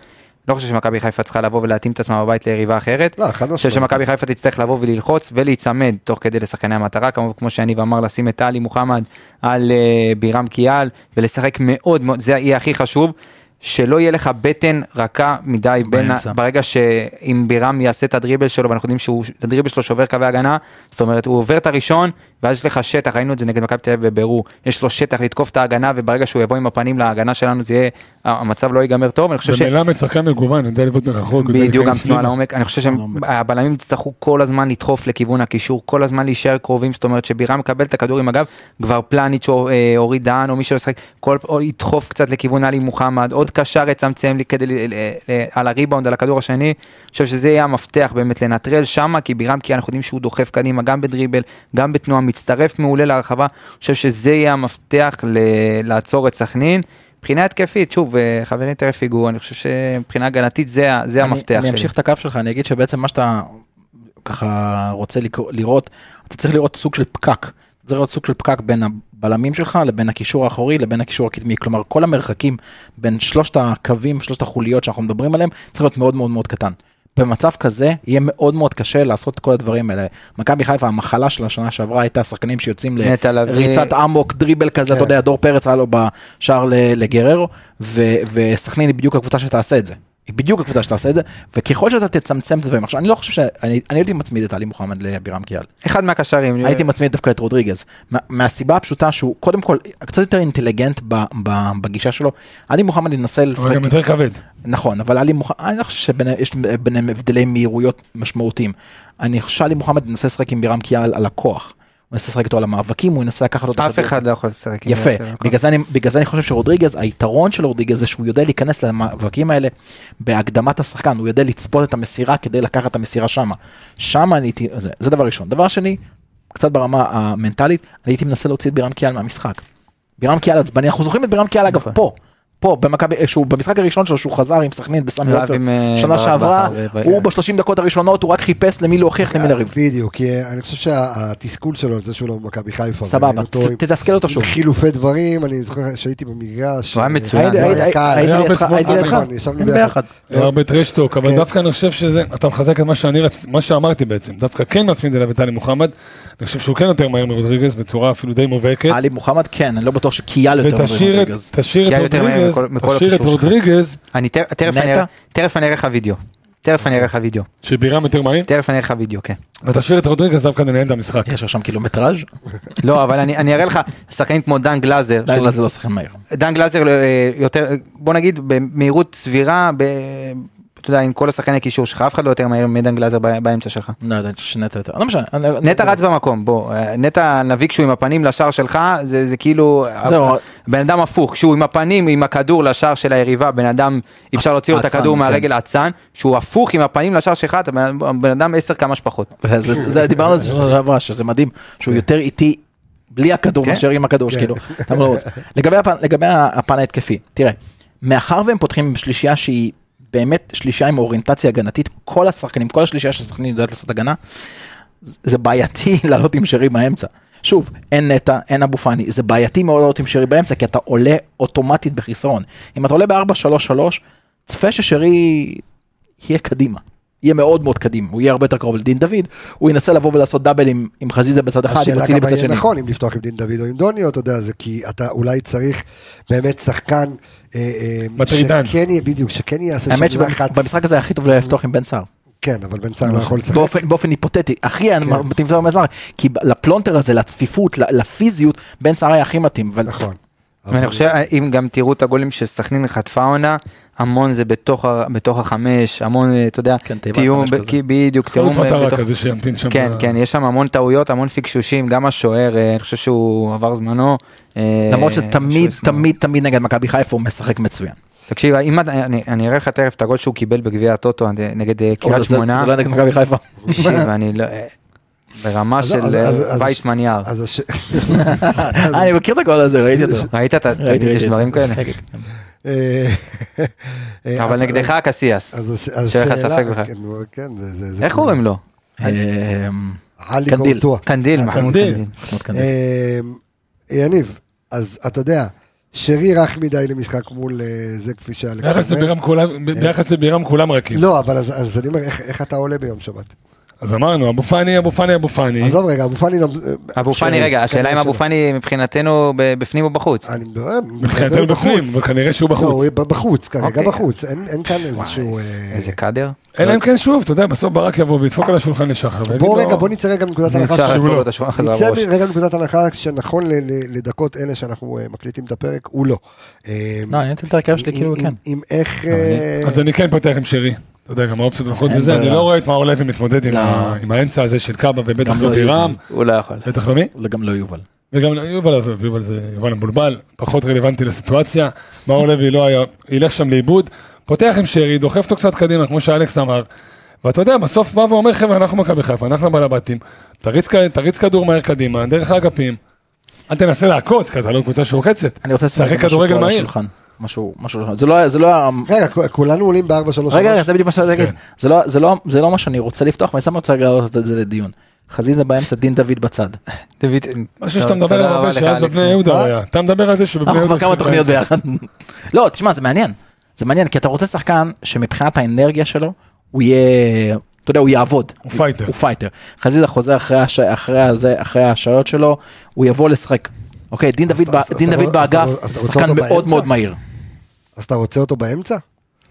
B: לא חושב שמכבי חיפה צריכה לבוא ולהתאים את עצמה בבית ליריבה אחרת.
A: לא, חד
B: אני חושב
A: משמעית.
B: שמכבי חיפה תצטרך לבוא וללחוץ ולהיצמד תוך כדי לשחקני המטרה, כמו, כמו שיניב אמר, לשים את עלי מוחמד על uh, בירם קיאל ולשחק מאוד מאוד, זה יהיה הכי חשוב, שלא יהיה לך בטן רכה מדי בין, ה-
F: באמצע.
B: ברגע שאם בירם יעשה את הדריבל שלו, ואנחנו יודעים שהדריבל שלו שובר קווי הגנה, זאת אומרת הוא עובר את הראשון, ואז יש לך שטח, ראינו את זה נגד מכבי תל אביב בבירור, יש לו שטח לתקוף את ההגנה, וברגע שהוא יבוא עם הפנים להגנה שלנו, זה יהיה, המצב לא ייגמר טוב, אני חושב ש...
C: ומלמד שחקן מגוון, יודע לבעוט מרחוק. יודע
B: בדיוק, גם
C: להיכנס
B: תנועה
C: פנימה.
B: לעומק, אני חושב שהבלמים יצטרכו כל הזמן לדחוף לכיוון הקישור, כל הזמן להישאר קרובים, זאת אומרת שבירם מקבל את הכדור עם הגב, כבר פלניץ' או אה, אורי דהן או מי שלא ישחק, כל- או ידחוף קצת לכיוון עלי מוחמד, עוד קשר יצמצם לי כדי, ל- ל- ל- על הריבאונד, על הכדור השני, אני חושב שזה יהיה המפתח באמת לנטרל שמה, כי בירם, כי אנחנו יודעים שהוא דוחף קדימה, גם בדריבל, גם בתנועה, מצטרף מעולה להרחבה, אני חושב שזה יהיה המפתח ל- לעצור את סכנין. מבחינה התקפית, שוב, אה, חברים תכף ייגעו, אני חושב שמבחינה הגנתית זה, ה- זה
F: אני-
B: המפתח
F: אני
B: שלי.
F: אמשיך את הקו שלך, אני אגיד שבעצם מה שאתה ככה רוצה לקרוא- לראות, אתה צריך לראות סוג של פקק. אתה צריך לראות סוג של פקק בין הבלמים שלך לבין הקישור האחורי לבין הקישור הקדמי. כלומר, כל המרחקים בין שלושת הקווים, שלושת החוליות שאנחנו מדברים עליהם, צריך להיות מאוד מאוד מאוד קטן. במצב כזה יהיה מאוד מאוד קשה לעשות את כל הדברים האלה. מכבי חיפה, המחלה של השנה שעברה הייתה שחקנים שיוצאים
B: נטע לביא.
F: לריצת אמוק, דריבל כזה, אתה
A: כן.
F: יודע, דור פרץ היה לו בשער ל- לגררו, ו- וסכנין היא בדיוק הקבוצה שתעשה את זה. היא בדיוק הקבוצה שתעשה את זה, וככל שאתה תצמצם את הדברים, עכשיו אני לא חושב שאני אני הייתי מצמיד את עלי מוחמד לבירם קיאל,
B: אחד
C: כן.
B: מהקשרים.
F: הייתי מצמיד דווקא את רודריגז, מה- מהסיבה הפשוטה שהוא קודם כל קצת יותר אינטליגנט ב- ב- בגישה שלו, עלי מוחמד ינסה לשחק,
C: אבל גם יותר כבד.
F: נכון, אבל עלי מוחמד, אני לא חושב שיש ביניהם הבדלי מהירויות משמעותיים, אני חושב שעלי מוחמד ינסה לשחק עם בירם קיאל על הכוח, הוא ינסה לשחק איתו על המאבקים, הוא ינסה לקחת אותו,
B: אף אחד לא יכול לשחק. עם
F: יפה,
B: זה, זה הכל.
F: בגלל זה, אני, בגלל זה אני חושב שרודריגז, היתרון של רודריגז זה שהוא יודע להיכנס למאבקים האלה בהקדמת השחקן, הוא יודע לצפות את המסירה כדי לקחת את המסירה שמה. שמה אני הייתי, זה, זה דבר ראשון. דבר שני, קצת ברמה המנטלית, אני הייתי מנסה להוציא את בירם קיאל מהמשחק. בירם קיאל עצבני, אנחנו זוכרים את בירם קיאל אגב
B: נכון.
F: פה. פה במכבי, שהוא במשחק הראשון שלו שהוא חזר עם סכנין בסמי
B: רב
F: עופר,
B: עם, אה,
F: שנה
B: ברק
F: שעברה,
B: בכר ו-
F: הוא בשלושים דקות הראשונות הוא רק חיפש למי להוכיח למי לריב.
A: בדיוק, כי אה, אני חושב שהתסכול שלו על זה שהוא לא במכבי חיפה.
F: סבבה,
A: וראינו אותו עם-
F: תתסכל אותו שוב.
A: עם חילופי דברים, אני זוכר שהייתי במגרש.
B: הוא היה
A: אה,
B: מצוין.
A: לא היה
F: הייתי- הייתי-
A: קל.
F: הייתי
C: היה הרבה
F: לידך,
C: שמאל.
F: הייתי
A: אה,
F: לידך,
A: נכון, ישבנו
F: היינו
A: ביחד.
F: ביחד.
A: לא.
C: היה הרבה טרשטוק, אבל
A: כן.
C: דווקא אני חושב שזה, אתה מחזק את מה שאני רצ... מה שאמרתי בעצם, דווקא כן מצמיד אליו את עלי מוחמד, אני חושב שהוא כן יותר מהר מרודריגז בצורה אפילו די מובהקת,
F: עלי מוחמד כן, אני לא בטוח שקיאל יותר
C: ותשאיר את
F: מרודריגז.
C: תשאיר את
B: כי היה יותר מהר
C: רודריגז,
B: מכל- מכל
C: תשאיר את
B: הקישור שלך.
C: רודריגז,
B: אני תר- תכף אני
F: נטע?
B: אראה- תכף אני אראה לך וידאו. תכף אני אראה לך וידאו.
C: שבירם יותר מהיר,
B: תכף אני אראה לך וידאו, כן.
C: ותשאיר את רודריגז דווקא לנהל את המשחק.
F: יש לך שם קילומטראז'?
B: לא, אבל אני אני אראה לך שחקנים כמו דן גלאזר. שהוא-
F: לילה זה לא שחקן מהיר.
B: דן גלאזר אה, יותר, בוא נגיד, במהירות סבירה, ב- אתה יודע, עם כל השחקני קישור שלך, אף אחד לא יותר מהר מדן גלאזר ב- באמצע שלך.
F: לא יודע, אני חושב שנטע יותר. לא משנה. אני-
B: נטע
F: אני-
B: רץ במקום, בוא, אה, נטע נביא כשהוא עם הפנים לשער שלך, זה, זה כאילו,
F: זהו.
B: בן אדם הפוך, כשהוא עם הפנים, עם הכדור לשער של היריבה, בן אדם, אי אפשר
F: עצ-
B: להוציא לו את
F: עצן,
B: הכדור
F: כן.
B: מהרגל האצן, שהוא הפוך עם הפנים לשער שלך, אתה בן בן אדם עשר כמה שפחות.
F: זה- זה- זה דיברנו על זה שנה שעברה, שזה מדהים, שהוא יותר איטי בלי הכדור
B: כן.
F: מאשר עם הכדור, שכאילו, אתה לא רוצה. לגבי הפן- לגבי הפן ההתקפי, תראה, מאחר והם פותחים עם שלישייה שהיא באמת שלישייה עם אוריינטציה הגנתית, כל השחקנים, כל השלישייה של סכנין יודעת לעשות הגנה, זה בעייתי לעלות עם שרי באמצע. שוב, אין נטע, אין אבו פאני, זה בעייתי מאוד לעלות עם שרי באמצע, כי אתה עולה אוטומטית בחיסרון. אם אתה עולה ב-4-3-3, צפה ששרי יהיה קדימה. יהיה מאוד מאוד קדים, הוא יהיה הרבה יותר קרוב לדין דוד, הוא ינסה לבוא ולעשות דאבל עם, עם חזיזה בצד אחד, עם
A: השאלה כמה
F: אצילי בצד
A: יהיה
F: שני.
A: נכון אם לפתוח עם דין דוד או עם דוניו, אתה יודע, זה כי אתה אולי צריך באמת שחקן... אה, אה,
C: מטרידן.
A: שכן יהיה, בדיוק, שכן יעשה
F: האמת
A: שם לחץ.
F: שבמשחק הזה הכי טוב לפתוח עם בן סער.
A: כן, אבל בן סער לא יכול לשחק.
F: באופן, באופן היפותטי, הכי היה מתאים זה בן סער, כי ב- לפלונטר הזה, לצפיפות, ל- לפיזיות, בן סער היה הכי מתאים. אבל-
A: נכון.
F: אוקיי.
B: ואני חושב, אה, אם גם תראו את הגולים שסכנין חטפה עונה, המון זה בתוך ה- בתוך החמש, המון, אה, אתה יודע,
F: כן, תיבת
B: תיאום,
F: חמש
B: ב-
F: כזה.
B: כי- בדיוק,
C: כל
B: תיאום. אה,
C: הזמן
B: בתוך-
C: כזה שימתין שם.
B: כן,
C: ב-
B: כן, יש שם המון טעויות, המון פקשושים, גם השוער, אה, אני חושב שהוא עבר זמנו. אה,
F: למרות
B: שהוא
F: שתמיד,
B: ישמח.
F: תמיד, תמיד נגד מכבי חיפה הוא משחק מצוין.
B: תקשיב, אם אתה- אני אני אראה לך תכף את הגול שהוא קיבל בגביע הטוטו אה, נגד אה,
F: אבל
B: קריית
F: זה-
B: שמונה.
F: זה לא נגד מכבי חיפה.
B: תקשיב, אני לא... אה, ברמה
A: אז- אז-
B: של
A: אז-
B: אה,
A: אז-
B: ויצמן יער.
A: אז הש-
F: אה, אני מכיר את הגול הזה, ראיתי אותו.
B: ראית את ה... תגיד, יש דברים כאלה?
A: אה, אה,
B: אבל נגדך הקסיאס.
A: אז הש- אז
B: שאין לך
A: השאלה-
B: ספק בכלל.
A: כן, כן, זה- זה- זה-
B: איך קוראים לו?
F: אמ,
A: עלי
F: קנדיל.
A: קורטואה.
B: קנדיל, מחמוד
C: קנדיל.
B: קנדיל.
F: מאוד כנראה.
A: אמ, יניב, אז אתה יודע, שרי רך מדי למשחק מול אה, זה כפי
C: ביחס
A: שאלכס אומר.
C: לבירם כולם- ב- ביחס לבירם כולם רכים.
A: כן. לא, אבל אז- אז אני אומר, איך- איך אתה עולה ביום שבת?
C: אז אמרנו, אבו פאני, אבו פאני, אבו פאני.
A: עזוב רגע, אבו פאני... לא-
B: אבו
A: שרי,
B: פאני, רגע, השאלה אם
A: כנראה
B: אבו
A: שלא.
B: פאני מבחינתנו ב- בפנים או בחוץ.
A: אני לא-
C: מבחינתנו בפנים, אבל כנראה שהוא
A: לא, הוא
C: בחוץ.
A: יהיה בחוץ, כרגע
B: אוקיי.
A: בחוץ, אין אין כאן איזשהו... אה,
B: איזה קאדר.
C: אלא אם כן שוב, אתה יודע, בסוף ברק יבוא וידפוק על השולחן לשחר. ויגיד
A: בוא
C: לו,
A: רגע, בוא נצא רגע מנקודת
B: אי
A: הנחה
B: אפשר
A: שהוא
B: לעצור
A: לא.
B: לו את השולחן חזרה
A: נצא
B: בראש.
A: רגע מנקודת הנחה שנכון ל- ל- לדקות אלה שאנחנו אה, מקליטים את הפרק, הוא לא. אה,
F: לא, אני נותן את ההרכב שלי
A: עם-
F: כאילו
A: עם-
F: כן.
A: עם איך...
B: אבל לא, אני-
A: אה,
C: אז אני כן פותח עם שרי. אתה יודע, גם האופציות הולכות
F: אין
C: וזה, אני
F: ברירה.
C: לא רואה את מאור לוי מתמודד עם
F: לא.
C: ה- עם האמצע הזה של קאבה ובטח
F: גם
C: לא
F: לא
C: בירם,
B: הוא לא יכול.
C: בטח לא מי,
F: גם לא יובל.
C: וגם לא- יובל עזוב, יובל זה יובל המבולבל, פחות רלוונטי לסיטואציה, מאור לוי לא היה, ילך שם לאיבוד, פותח עם שרי, דוחף אותו קצת קדימה, כמו שאלכס אמר, ואתה יודע, בסוף בא ואומר, חבר'ה, אנחנו מכבי חיפה, אנחנו בעל הבתים, תריץ כ- תריץ כדור מהר קדימה, דרך האגפים, אל תנסה לעקוץ, כי אתה לא קבוצה שעוקצת,
F: אני רוצה לשחק
C: שחק כדורגל
F: משהו פה על
C: מהיר.
F: השולחן. משהו, משהו, זה לא, היה- זה לא, היה-
A: רגע, כ- כולנו עולים ב-4-3-3.
F: רגע, רגע, זה בדיוק מה שאני רוצה
C: כן.
F: להגיד. זה לא- זה לא- זה לא מה שאני רוצה לפתוח, ואני סתם רוצה להעלות את זה לדיון. חזיזה באמצע, דין דוד בצד.
B: לא,
C: משהו שאתה מדבר עליו הרבה, שאז בבני יהודה היה. אתה מדבר על זה שבבני
F: אנחנו
C: יהודה...
F: כבר כמה
C: שיחק
F: תוכניות
C: באמצע.
F: ביחד. לא, תשמע, זה מעניין. זה מעניין, כי אתה רוצה שחקן שמבחינת האנרגיה שלו, הוא יהיה, אתה יודע, הוא יעבוד.
C: הוא פייטר.
F: הוא פייטר. חזיזה חוזר אחרי הש- אחרי הזה, אחרי ההשעיות שלו, הוא יבוא לשחק. אוקיי, דין דוד
A: אז- אז
F: ב- דין
A: אתה
F: דוד
A: לא- אז אתה
F: באגף,
A: לא- אז אתה רוצה
F: שחקן
A: אותו
F: מאוד
A: באמצע?
F: מאוד מהיר.
A: אז אתה רוצה אותו באמצע?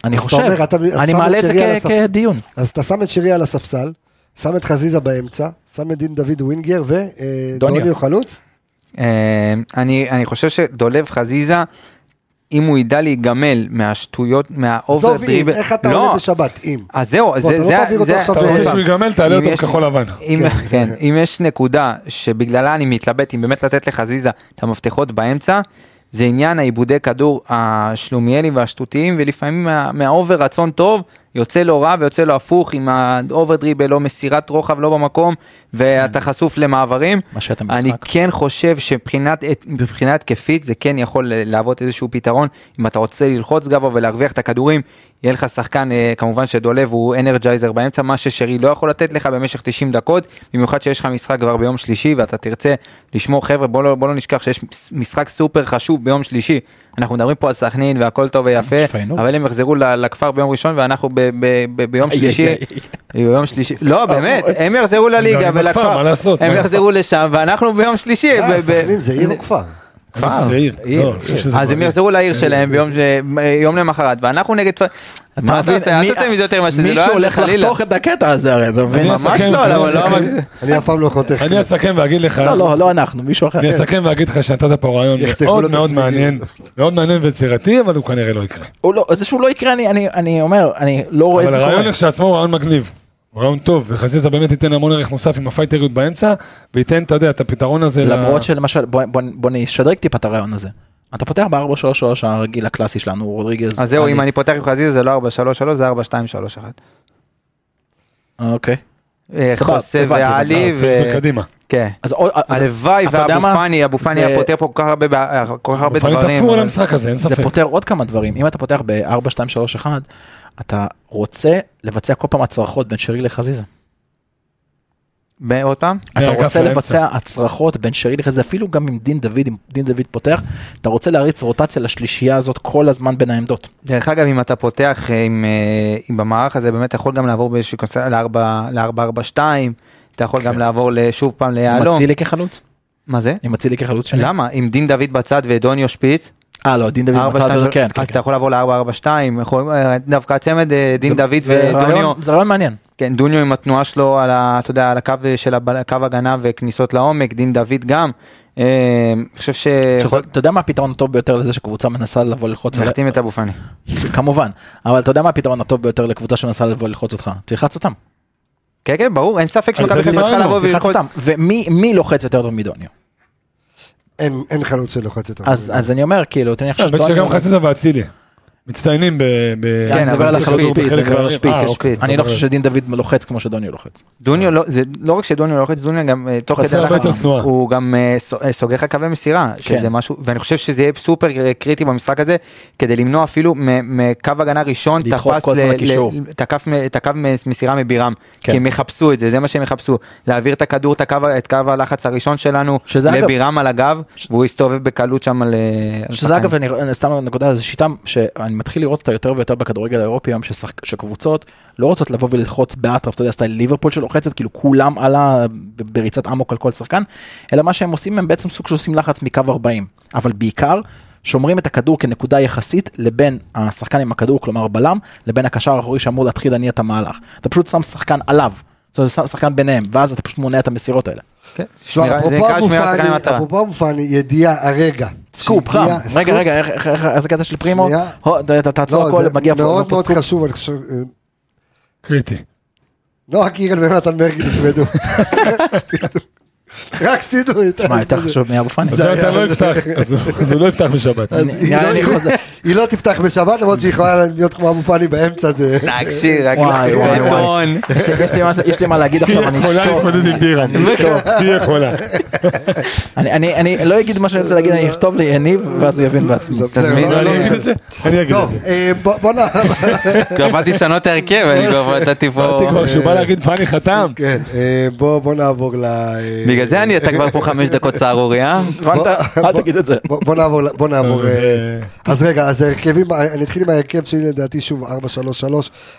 F: אני
A: אז אתה אומר,
F: חושב,
A: אתה- אז
F: אני
A: שם
F: מעלה את
A: את
F: זה
A: שרי על
F: כ-
A: הספסל.
F: כדיון.
A: אז אתה שם את שירי על הספסל, שם את חזיזה באמצע, שם את דין דוד ווינגר
F: דוניו.
A: ודוניו חלוץ.
B: אה, אני אני חושב שדולב חזיזה, אם הוא ידע להיגמל מהשטויות, מהאובר
A: עזוב אם,
B: דריבל,
A: איך אתה
B: לא,
A: עולה בשבת, אם.
B: אז זהו,
A: בוא,
B: זה,
A: אתה לא
B: זה,
A: תעביר אותו
B: זה,
A: עכשיו
C: אתה
A: עוד
C: רוצה
A: פעם.
C: שהוא ייגמל, תעלה
B: אם
C: אותו
B: יש-
C: בכחול לבן.
B: אם,
A: כן.
B: כן, אם יש נקודה שבגללה אני מתלבט אם באמת לתת לחזיזה את המפתחות באמצע, זה עניין העיבודי כדור השלומיאליים והשטותיים, ולפעמים מה- מהאובר רצון טוב, יוצא לו רע ויוצא לו הפוך עם האובר דריבל, לא מסירת רוחב, לא במקום,
A: כן.
B: ואתה חשוף למעברים.
F: מה שאתה
B: אני
F: משחק.
B: כן חושב שמבחינת מבחינה התקפית זה כן יכול להוות איזשהו פתרון אם אתה רוצה ללחוץ גבוה ולהרוויח את הכדורים יהיה לך שחקן אה, כמובן שדולב הוא אנרג'ייזר באמצע מה ששרי לא יכול לתת לך במשך 90 דקות במיוחד שיש לך משחק כבר ביום שלישי ואתה תרצה לשמור חבר'ה בוא לא, בוא לא נשכח שיש משחק סופר חשוב ביום שלישי אנחנו מדברים פה על סכנין והכל טוב ויפה
F: פיינור.
B: אבל הם יחזרו ל- לכפר ביום ראשון ואנחנו ב- ב- ב- ביום
F: איי,
B: שלישי
F: איי,
B: ביום שלישי לא באמת הם יחזרו לליגה
C: גם עם הכפר, מה
B: ולכפר
C: לעשות?
B: הם
C: מה?
B: יחזרו לשם ואנחנו ביום שלישי. ב-
A: אה,
B: ב-
A: סכנין זה עיר או כפר?
C: אני חושב שזה עיר.
F: כן.
C: לא, אני חושב שזה
B: אז הם
C: עיר.
B: יחזרו לעיר שלהם ביום ש- יום למחרת ואנחנו נגד צפת. מה אתה
F: מבין?
B: עושה? אל
F: מי-
B: תעשה מזה יותר ממה שזה לא
F: מישהו
B: היה,
F: הולך
B: חלילה.
F: לחתוך את הקטע הזה הרי, אתה מבין?
C: אני
B: ממש
C: אסכם,
B: לא,
C: אני
B: למה לא
C: אסכם.
B: אמרתי זה?
A: אני אף פעם לא חותך.
C: אני אסכם ואגיד לך,
F: לא, לא, לא אנחנו, מישהו אחר.
C: אני אסכם ואגיד לך שנתת פה רעיון
A: יחתכו לו
C: מאוד
A: את
C: מאוד
A: הצמיגים.
C: מעניין, מאוד מעניין ויצירתי, אבל הוא כנראה לא יקרה.
F: הוא לא, זה שהוא לא יקרה, אני- אני- אני אומר, אני לא רואה את
C: אבל
F: זה
C: הרעיון
F: קורה.
C: כשלעצמו הוא רעיון מגניב. הוא רעיון טוב, וחזיזה באמת ייתן המון ערך מוסף עם הפייטריות באמצע, וייתן, אתה יודע, את הפתרון הזה. ל-
F: למרות שלמשל, בוא- בוא- בוא נשדרג טיפה את הרעיון הזה. אתה פותח ב-4-3-3 הרגיל הקלאסי שלנו, רודריגז.
B: אז זהו
F: אני-
B: אם אני פותח עם חזיזה זה לא 4-3-3 זה 4-2-3-1.
F: אוקיי.
B: אה,
F: סבבה,
B: חוסה
F: הבנתי,
B: ועלי
C: אה, צריך לזה
B: ו...
C: קדימה.
B: כן.
F: אז עוד-
B: הלוואי
F: אתה יודע
B: ואבו
F: מה?
B: פאני, אבו פאני
F: זה-
B: היה פותר פה כל כך הרבה בע- כל כך הרבה
C: אבל אני
B: דברים.
C: תפור על
B: אבל-
C: המשחק הזה, אין
F: זה
C: ספק.
F: פותר עוד כמה דברים. אם אתה פותח ב-4, 2, 3, 1, אתה רוצה לבצע כל פעם הצרחות בין שרי לחזיזה.
B: ב- עוד פעם?
F: אתה
C: מהאגף
F: רוצה
C: לאמצע.
F: לבצע הצרחות בין שרי לחזי, זה אפילו גם עם דין דוד, אם דין דוד פותח, אתה רוצה להריץ רוטציה לשלישייה הזאת כל הזמן בין העמדות.
B: דרך אגב, אם אתה פותח אה, עם, אה, עם במערך הזה, באמת אתה יכול גם לעבור באיזושהי קונסטלציה ל-4-4-2, אתה יכול
F: כן.
B: גם לעבור ל- שוב פעם
F: עם
B: ליהלום.
F: אצילי כחלוץ?
B: מה זה?
F: עם אצילי כחלוץ שלי?
B: למה? עם דין דוד בצד ודוניו שפיץ,
F: אה, לא, דין דוד
B: ארבע,
F: מצא
B: שתיים,
F: אותו,
B: שלוש-
F: כן, כן,
B: אז
F: כן.
B: אתה יכול לעבור ל-4-4-2, דווקא הצמד אה, דין
F: זה-
B: דוד
F: זה
B: ודוניו,
F: רעיון- זה רעיון מעניין.
B: כן, דוניו עם התנועה שלו על, ה, אתה יודע, על הקו של הבל- קו הגנה וכניסות לעומק, דין דוד גם. אה, אני חושב ש...
F: עכשיו, אתה יודע מה הפתרון הטוב ביותר לזה שקבוצה מנסה לבוא ללחוץ? על-
B: להחתים את אבו פאני.
F: כמובן, אבל אתה יודע מה הפתרון הטוב ביותר לקבוצה שמנסה לבוא ללחוץ אותך? תלחץ אותם.
B: כן, כן, ברור, אין ספק
C: על
B: שמכבי
C: זה
B: חיפה צריכה
C: דיברנו,
B: לבוא
F: תלחץ
B: וללחוץ.
F: אותם. ומי מי לוחץ יותר טוב מדוניו?
A: אין, אין חלוץ שלוחץ יותר.
F: אז אז אני אומר, כאילו, אתה חושב
C: האמת שגם חסידה ואצילי. מצטיינים ב... ב-
F: כן, אני מדבר על
B: אבל זה
F: החלוץ,
B: שפיץ,
F: אני
C: בחלק
F: מדבר על
C: מהארץ.
F: השפיץ.
C: אה,
B: יש
C: אוקיי,
B: שפיץ.
F: אני לא
C: סבבה.
F: חושב שדין דוד לוחץ כמו שדוניו לוחץ.
B: דוניו לא, זה לא רק שדוניו לא לוחץ, דוניו גם אה, תוך
C: חסר
B: כדי
C: הרבה
B: לחץ,
C: יותר תנועה.
B: הוא גם אה, ס- אה, סוגר לך קווי מסירה,
F: כן.
B: שזה משהו, ואני חושב שזה יהיה סופר אה, קריטי במשחק הזה, כדי למנוע אפילו מ- מקו הגנה ראשון, את
F: לדחוף
B: הפס
F: כל הזמן
B: ל-
F: לקישור.
B: ל- את הקו מ- את הקו מ- מסירה מבירם,
F: כן.
B: כי הם יחפשו את זה, זה מה שהם יחפשו, להעביר את הכדור, את הקו- את קו הלחץ הראשון שלנו,
F: שזה אגב-
B: לבירם על הגב, והוא יסתובב בקלות שם על... אה, על
F: שזה
B: שחקנים.
F: אגב, אני אני סתם נקודה, זו שיטה שאני מתחיל לראות אותה יותר ויותר בכדורגל האירופי היום, ששחק- שקבוצות לא רוצות לבוא וללחוץ באטרף, אתה יודע, סטייל ליברפול שלוחצת, כאילו כולם על ה... ב- בריצת אמוק על כל שחקן, אלא מה שהם עושים, הם בעצם סוג שעושים לחץ מקו 40, אבל בעיקר... שומרים את הכדור כנקודה יחסית לבין השחקן עם הכדור, כלומר בלם, לבין הקשר האחורי שאמור להתחיל להניע את המהלך. אתה פשוט שם שחקן עליו, זאת אומרת, שם שחקן ביניהם, ואז אתה פשוט מונע את המסירות האלה.
B: כן.
A: תשמע,
B: שמירה- זה
A: אפרופו
B: נקרא
A: אבו
B: שמירה על
A: פאני-
B: שחקני מטרה.
A: אפרופו אבו פאני, ידיעה הרגע.
F: סקופ חם,
A: שהגיע- סקופ.
F: רגע רגע איך- איך- איך- איזה קטע של פרימו,
A: שנייה.
F: הו, ת- ת- תעצור
A: לא,
F: הכל,
A: זה
F: מגיע פה
A: מאוד
F: פה
A: מאוד
F: סקופ.
A: חשוב, אני חושב... אה,
C: קריטי.
A: לא רק יגאל ונתן מרגי נפרדו. שתדעו. רק שתדעו.
F: מה יותר חשוב מאבו פאני?
C: אז זה אתה לא יפתח, אז הוא- אז הוא לא יפתח בשבת.
A: אז
F: נראה
A: היא
F: לי אני
A: לא-
F: חוזר.
A: היא לא תפתח בשבת למרות שהיא יכולה להיות כמו אבו פאני באמצע זה.
B: תקשיב, רק לא-
F: וואי, וואי, וואי.
B: בטון.
F: יש לי- יש לי מה- יש לי מה להגיד
C: היא
F: עכשיו, אני
C: יכולה
F: אשתוק.
C: להתמודד עם בירה. היא יכולה.
F: אני- אני אני לא אגיד מה שאני רוצה להגיד, אני אכתוב ליניב ואז הוא יבין בעצמו.
A: זה בסדר,
B: תזמין,
A: לא,
C: אני
A: לא,
C: אגיד את זה? אני אגיד את
A: טוב,
C: זה.
A: אה, בוא בוא נע...
B: כבר באתי לשנות הרכב, אני כבר נתתי פה...
C: אמרתי כבר שהוא בא להגיד פאני חתם.
A: כן, אה, בוא בוא נעבור ל... אה,
B: בגלל זה אני, אתה כבר פה חמש דקות אה? סהרוריה.
F: הבנת?
A: בוא-
F: אל תגיד את זה.
A: בוא בוא נעבור, ל- בוא נעבור,
C: זה-
A: אה, אז רגע, אז הרכבים, אני אתחיל עם ההרכב שלי לדעתי שוב 4-3-3,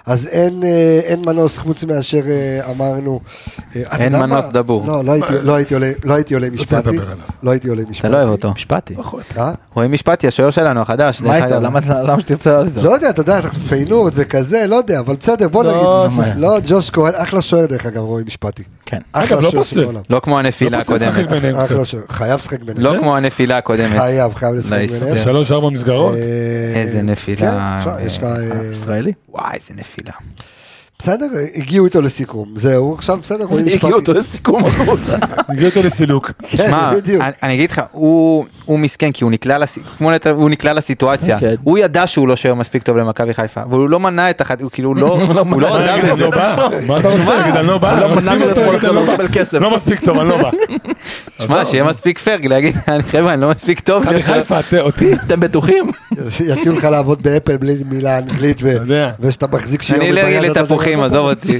A: אז אין, אה, אין מנוס חוץ מאשר אה, אמרנו, אה, אתה
B: אין
A: יודע
B: מנוס
A: מה?
B: דבור.
A: לא, לא הייתי- לא הייתי עולה- לא הייתי עולה עם
C: רוצה
A: משפטי,
C: לדבר עליו.
A: לא הייתי עולה עם משפטי,
B: אתה לא אוהב אותו.
F: משפטי.
A: אה?
B: רועי משפטי, השוער שלנו החדש.
F: מה
B: דרך
F: איתו?
B: אגב.
F: למה למה שתרצה לעלות איתו?
A: לא יודע, אתה יודע, אנחנו פיינורד וכזה, לא יודע, אבל בסדר, בוא
C: לא,
A: נגיד,
F: זה-
A: לא, ג'וש כהן, אחלה שוער דרך אגב, רועי משפטי,
F: כן.
C: אגב,
A: אחלה
C: לא
A: שוער
C: פוסל.
A: של העולם,
B: לא כמו הנפילה
C: לא פוסל לשחק
B: הקודמת.
C: ביניהם קצת.
A: אחלה שוער, חייב לשחק ביניהם,
B: לא כמו הנפילה הקודמת.
A: חייב, חייב לשחק
B: לא
A: ביניהם,
B: הסתדר.
C: שלוש ארבע מסגרות.
A: אה,
B: איזה נפילה.
A: כן, אפשר, יש לך... אה,
F: ישראלי?
B: וואי, איזה נפילה.
A: בסדר, הגיעו איתו לסיכום, זהו, עכשיו בסדר, רואים
F: הגיעו אותו לסיכום הקבוצה.
C: הגיע אותו לסילוק.
B: שמע,
A: כן, בדיוק.
B: אני- אני אגיד לך, הוא הוא מסכן כי הוא נקלע לס- כמו נטע- הוא נקלע לסיטואציה.
F: כן.
B: הוא ידע שהוא לא שוער מספיק טוב למכבי חיפה, אבל הוא לא מנע את אחת, הוא כאילו לא, הוא לא
C: מה,
B: הודה
C: נגיד,
B: בזה.
C: לא בא? מה אתה רוצה? להגיד, אני לא בא?
F: לא
C: אני
F: מנע
C: מסכים
F: מעצמו
C: איתו,
F: לקבל-
C: אני לא בא.
F: לקבל כסף.
C: לא מספיק טוב, אני לא בא.
B: שמע, שיהיה מספיק פייר להגיד, "אני- חבר'ה, אני לא מספיק טוב.
C: מכבי חיפה, אתה- אותי?
F: אתם בטוחים?
A: יציעו לך לעבוד באפל בלי מילה אנגלית, ו-
C: יודע.
A: ושאתה מחזיק שיעור. לא
B: אני לא אלרגי לתפוחים, עזוב
A: אמ,
B: אותי.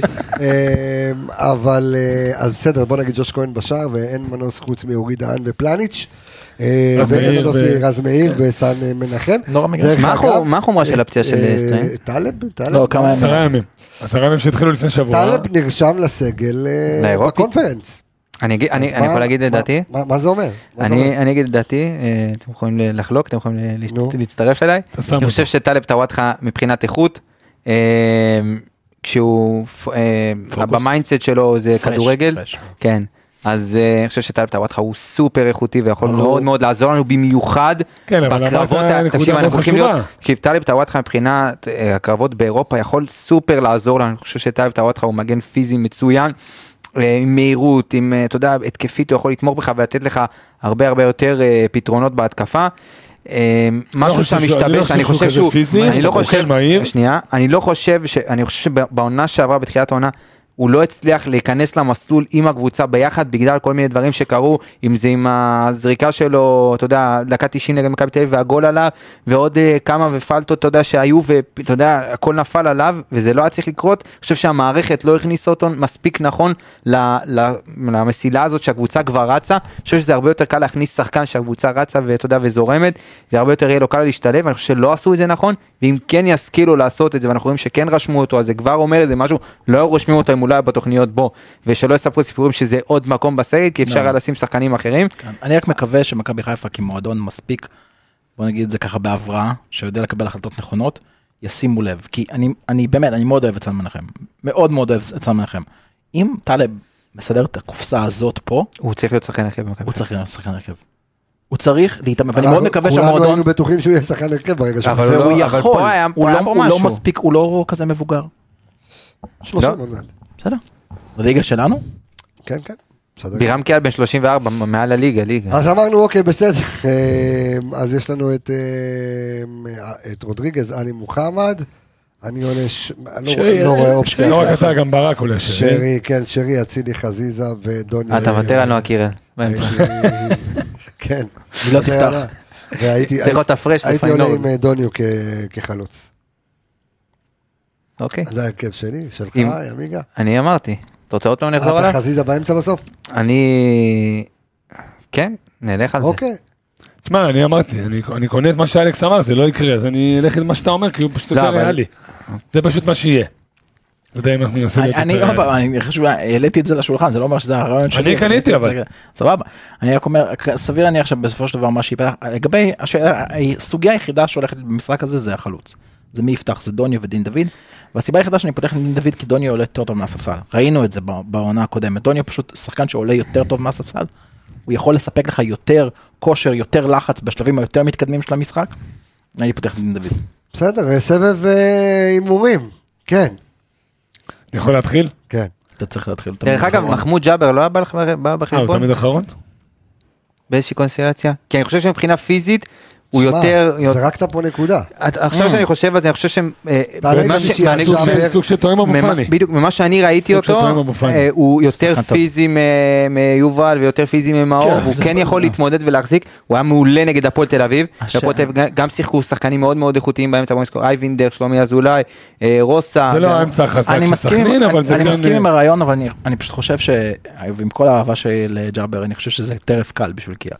A: אבל, אה, אז בסדר, בוא נגיד ג'וש כהן בשער, ואין מנוס חוץ מאורי דהן ופלניץ'. אה,
C: רז
A: ואין
C: מאיר
A: מנוס
C: ו- כן.
A: מרז מאיר וסן אה, מנחם.
F: נורא מגרש.
A: דרך
B: מה
A: אגב,
B: החו- מה החומרה של הפציעה של
A: אה,
B: סטריין?
A: טלב, טלב.
F: לא, כמה ימים.
C: עשרה ימים. עשרה ימים שהתחילו לפני שבוע.
A: טלב נרשם לסגל אה,
B: לאירופי.
A: בקונפרנס.
B: אני אגיד- אני
A: אז
B: אני
A: מה-
B: יכול להגיד את
A: מה-
B: דעתי?
A: מה- מה זה אומר? מה זה אומר?
B: אני אני אגיד את דעתי, אה, אתם יכולים ל- לחלוק, אתם יכולים ל- להצט-
A: נו.
B: להצטרף אליי.
C: אתה שם
B: אני חושב
C: אותו.
B: שטלב טוואטחה מבחינת איכות, אה, כשהוא פ- אה, במיינדסט שלו זה כדורגל,
F: פרש.
B: כן. אז אה, אני חושב שטלב טוואטחה הוא סופר איכותי ויכול
F: ברור.
B: מאוד מאוד לעזור לנו במיוחד
C: כן, אבל אמרת
B: בקרבות, ה-
C: נקודה
B: תקשיב,
C: מאוד
B: אנחנו הולכים להיות,
C: חשובה.
B: תקשיב, טלב טוואטחה מבחינת אה, הקרבות באירופה יכול סופר לעזור לנו, אני חושב שטלב טוואטחה הוא מגן פיזי מצוין, אה, עם מהירות, עם, אה, אתה יודע, התקפית הוא יכול לתמוך בך ולתת לך הרבה הרבה יותר אה, פתרונות בהתקפה. אה, משהו
C: חושב
B: שאתה
C: שהוא- אני לא
B: משתבש,
C: חושב
B: אני
C: שהוא
B: חושב
C: כזה
B: שהוא,
C: פיזי,
B: אני לא
C: הוא אוכל
B: חושב,
C: מהיר.
B: שנייה, אני לא חושב, ש- אני חושב שבעונה שעברה, בתחילת העונה, הוא הוא לא הצליח להיכנס למסלול עם הקבוצה ביחד בגלל כל מיני דברים שקרו, אם זה עם הזריקה שלו, אתה יודע, דקה 90 נגד מכבי תל אביב והגול עליו, ועוד אה, כמה ופלטות, אתה יודע, שהיו, ואתה יודע, הכל נפל עליו, וזה לא היה צריך לקרות. אני חושב שהמערכת לא הכניסה אותו מספיק נכון ל- ל- למסילה הזאת שהקבוצה כבר רצה. אני חושב שזה הרבה יותר קל להכניס שחקן שהקבוצה רצה ואתה יודע, וזורמת, זה הרבה יותר יהיה לו קל להשתלב, אני חושב שלא עשו את זה נכון, ואם כן ישכילו לעשות את זה, ואנחנו רואים שכן רשמו אותו, אז זה כבר אומר איזה משהו, לא היו רושמים אותו אם הוא לא היה בתוכניות בו, ושלא יספרו סיפורים שזה עוד מקום בסגל, כי
A: לא.
B: אפשר היה לשים שחקנים אחרים.
F: כן. אני רק מקווה שמכבי חיפה כמועדון מספיק, בוא נגיד את זה ככה בהבראה, שיודע לקבל החלטות נכונות, ישימו לב. כי אני, אני באמת, אני מאוד אוהב את סן מנחם. מאוד מאוד אוהב את סן מנחם. אם טלב מסדר את הקופסה הזאת פה,
B: הוא צריך להיות שחקן אחר במכבי.
F: הוא צריך להיות שחקן הרכב. הוא צריך להתאמן, ואני
A: אנחנו-
F: מאוד מקווה
A: כולנו
F: שהמועדון,
A: היינו בטוחים שהוא יהיה שחקן הרכב ברגע שהוא...
B: אבל
A: חוזר.
B: לא-
F: והוא
B: אבל
F: יכול,
B: פה היה- פה
F: הוא
B: היה
F: לא-
B: פה
F: הוא לא
B: משהו.
F: מספיק, הוא לא כזה מבוגר.
A: שלושים
B: לא.
A: עוד מעט.
F: בסדר. בליגה שלנו?
A: כן, כן. בסדר.
B: בירם קיאל בן 34, מעל הליגה, ליגה.
A: אז אמרנו, אוקיי, בסדר. אמ, אז יש לנו את, אמ, את רודריגז, עלי מוחמד. אני עולה, ש- אני לא רואה- לא רואה אופציה.
C: לא רק אתה, גם ברק עולה שרי.
A: שרי, כן, שרי, אצילי, חזיזה ודוני.
B: אה, אתה מוותר לנו הקירל.
A: אה,
B: באמצע.
A: הייתי- כן.
F: היא לא
A: זה
F: תפתח.
A: היה- והייתי-
B: צריך להיות הפרש
A: אה, הייתי עולה עם
B: לפיינור.
A: אה, דוניו כ- כחלוץ.
B: אוקיי.
A: זה ההרכב שלי, שלך,
B: אם-
A: ימיגה. אה,
B: אני אמרתי. אתה רוצה עוד פעם נחזור
A: אתה
B: עליו?
A: חזיזה באמצע בסוף?
B: אני... כן, נלך על זה.
A: אוקיי.
C: תשמע, אני אמרתי, אני- אני קונה את מה שאלכס אמר, זה לא יקרה, אז אני אלך עם מה שאתה אומר, כי הוא פשוט
B: לא,
C: יותר
B: אבל-
C: ריאלי. זה פשוט מה שיהיה. אתה יודע אם אנחנו ננסה להיות
F: אני
C: יותר
F: עוד פעם,
C: ריאלי.
F: אני חושב, העליתי את זה לשולחן, זה לא אומר שזה הרעיון שלי.
C: אני קניתי, אבל.
F: זה- סבבה. אני רק אומר, סביר להניח שבסופו של דבר מה שיפתח, לגבי השאלה, הסוגיה היחידה שהולכת במשחק הזה זה החלוץ. זה מי יפתח, זה דוניו ודין דוד. והסיבה היחידה שאני פותח עם דין דוד כי דוניו עולה יותר טוב מהספסל. ראינו את זה ב- בעונה הקודמת. דוניו פשוט שחקן שעולה יותר טוב מהספסל. הוא יכול לספק לך יותר כושר, יותר לחץ בשלבים היותר מתקדמים של המשחק. אני פותח עם דין דוד.
A: בסדר, אה, סבב אה, הימורים. כן,
C: אני יכול להתחיל? אה,
A: כן.
F: אתה צריך להתחיל. אתה
B: דרך אגב,
F: אחרון.
B: מחמוד ג'אבר לא היה בא לך- בא
C: אה, הוא
B: בחשבון
C: תמיד אחרון?
B: באיזושהי קונסטלציה? כי אני חושב שמבחינה פיזית הוא
A: שמע,
B: יותר...
A: זרקת פה נקודה.
B: את- עכשיו
F: אה.
B: שאני חושב על זה, אני חושב שהם... אה,
A: תעלה
B: ממה
A: את
B: ש-
A: השישי,
B: מהנקודה-
A: עכשיו.
C: סוג של- סוג של תואם אבו
B: ממה-
C: פאני.
B: בדיוק, ממה שאני ראיתי
C: סוג של תואם
B: אותו,
C: אבו פאני.
B: אה, הוא יותר
F: שחקן טוב.
B: פיזי מ- מיובל ויותר פיזי ממאור,
F: כן,
B: הוא
F: זה-
B: כן
F: זה-
B: יכול להתמודד ולהחזיק, הוא היה מעולה נגד הפועל תל אביב,
F: השאלה-
B: והפועל תל אביב גם- גם שיחקו שחקנים מאוד מאוד איכותיים באמצע, בוא נזכור, אייבינדר, שלומי אזולאי, אה, רוסה.
C: זה לא
B: גם-
C: האמצע החזק
F: אני
C: של
F: מסכים-
C: סכנין, אבל
F: אני-
C: זה
F: אני מסכים
C: כן...
F: עם הרעיון, אבל אני- אני פשוט חושב ש... עם כל האהבה שלי לג'אבר, אני חושב שזה טרף קל בשביל קיאל.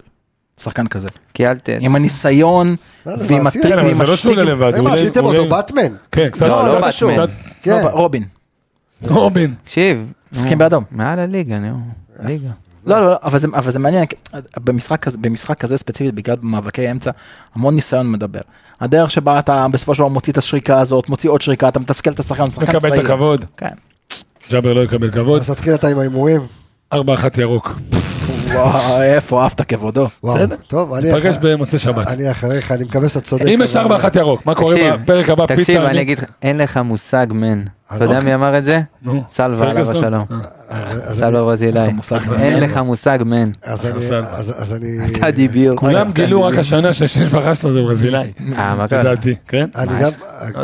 F: שחקן כזה.
B: כי אל ת...
F: עם הניסיון,
A: לא, זה
F: ועם
A: מעשי,
F: הטריק
A: כן, אבל
C: כן,
F: ועם
C: אבל זה לא שהוא עולה
F: השטיקים.
C: לבד, הוא
A: מה,
C: עולה...
A: עשיתם
C: הוא
A: אותו
C: עולה-
A: באטמן?
C: כן, קצת...
B: לא, לא
C: קצת-
B: באטמן.
C: קצת-
A: כן.
F: לא, רובין,
C: Mm. רובין.
B: תקשיב.
F: משחקים
B: נו,
F: באדום.
B: מעל הליגה, נו. ליגה.
F: לא, לא, לא, אבל זה, אבל זה מעניין, כי במשחק, כזה- במשחק כזה ספציפית, בגלל מאבקי אמצע, המון ניסיון מדבר. הדרך שבה אתה בסופו של דבר מוציא את השריקה הזאת, מוציא עוד שריקה, אתה מתסכל את השחקן, הוא שחקן
C: מקבל את
F: צעיר.
C: הכבוד.
F: כן.
C: ג'אבר לא יקבל כבוד.
A: אז תתחיל אתה עם ההימורים.
C: 4-1 ירוק.
F: וואו, איפה עפת כבודו.
A: וואו. טוב, אני
C: פגש
A: אח-
C: במוצאי שבת.
A: אני אחריך, אני מקווה שאתה צודק.
C: אם יש 4-1
A: אבל-
C: ירוק, מה קורה
B: תקשיב,
C: בפרק הבא? פיצה?
B: תקשיב, אני
C: אני-
B: אגיד לך, אין לך מושג מן. אתה יודע
A: אוקיי.
B: מי אמר את זה?
C: נו.
B: סלווה, עליו
C: פרגוסון? אה.
B: השלום.
A: אז- אז אני-
B: סלווה ברזילאי.
F: לך מושג מן.
B: אין לך מושג מן.
A: אז אני-
C: סלווה.
A: אז- אז אני...
B: אתה דיבור.
C: כולם גילו רק השנה שהשם שלך שלו זה ברזילאי.
B: אה, מה קרה?
C: לדעתי, כן?
A: אני
B: מה,
A: גם...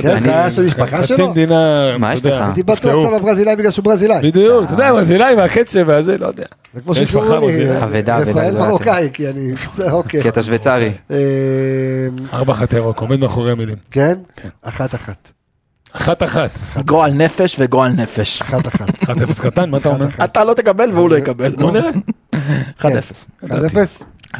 A: כן,
B: אני-
A: זה היה של משפחה
C: חצי
A: שלו?
C: מדינה,
B: מה יש
C: אתה יודע,
B: לך?
A: הייתי בטוח
C: נפטרו.
A: שאתה לא- אה, ברזילאי בגלל שהוא ברזילאי.
C: בדיוק, אתה יודע, ברזילאי והקצב והזה, לא יודע.
A: זה כמו
C: יש
A: שקראו
C: משפחה
A: לי, אה,
C: ברזילאית.
B: אבדה, אבדה
A: רפאל
B: גדולה.
A: מרוקאי, כי אני... זה, אוקיי.
B: כי אתה שוויצרי.
A: אמ,
C: ארבע אחת ירוק, עומד מאחורי המילים.
A: כן? אחת אחת.
C: אחת אחת,
F: גועל נפש וגועל נפש.
C: כן.
A: אחת אחת.
C: אחת אפס קטן, מה אתה אומר?
F: אתה לא תקבל והוא לא יקבל.
C: בוא נראה.
F: 1-0.
A: כן. עד אפס?
F: 1-0.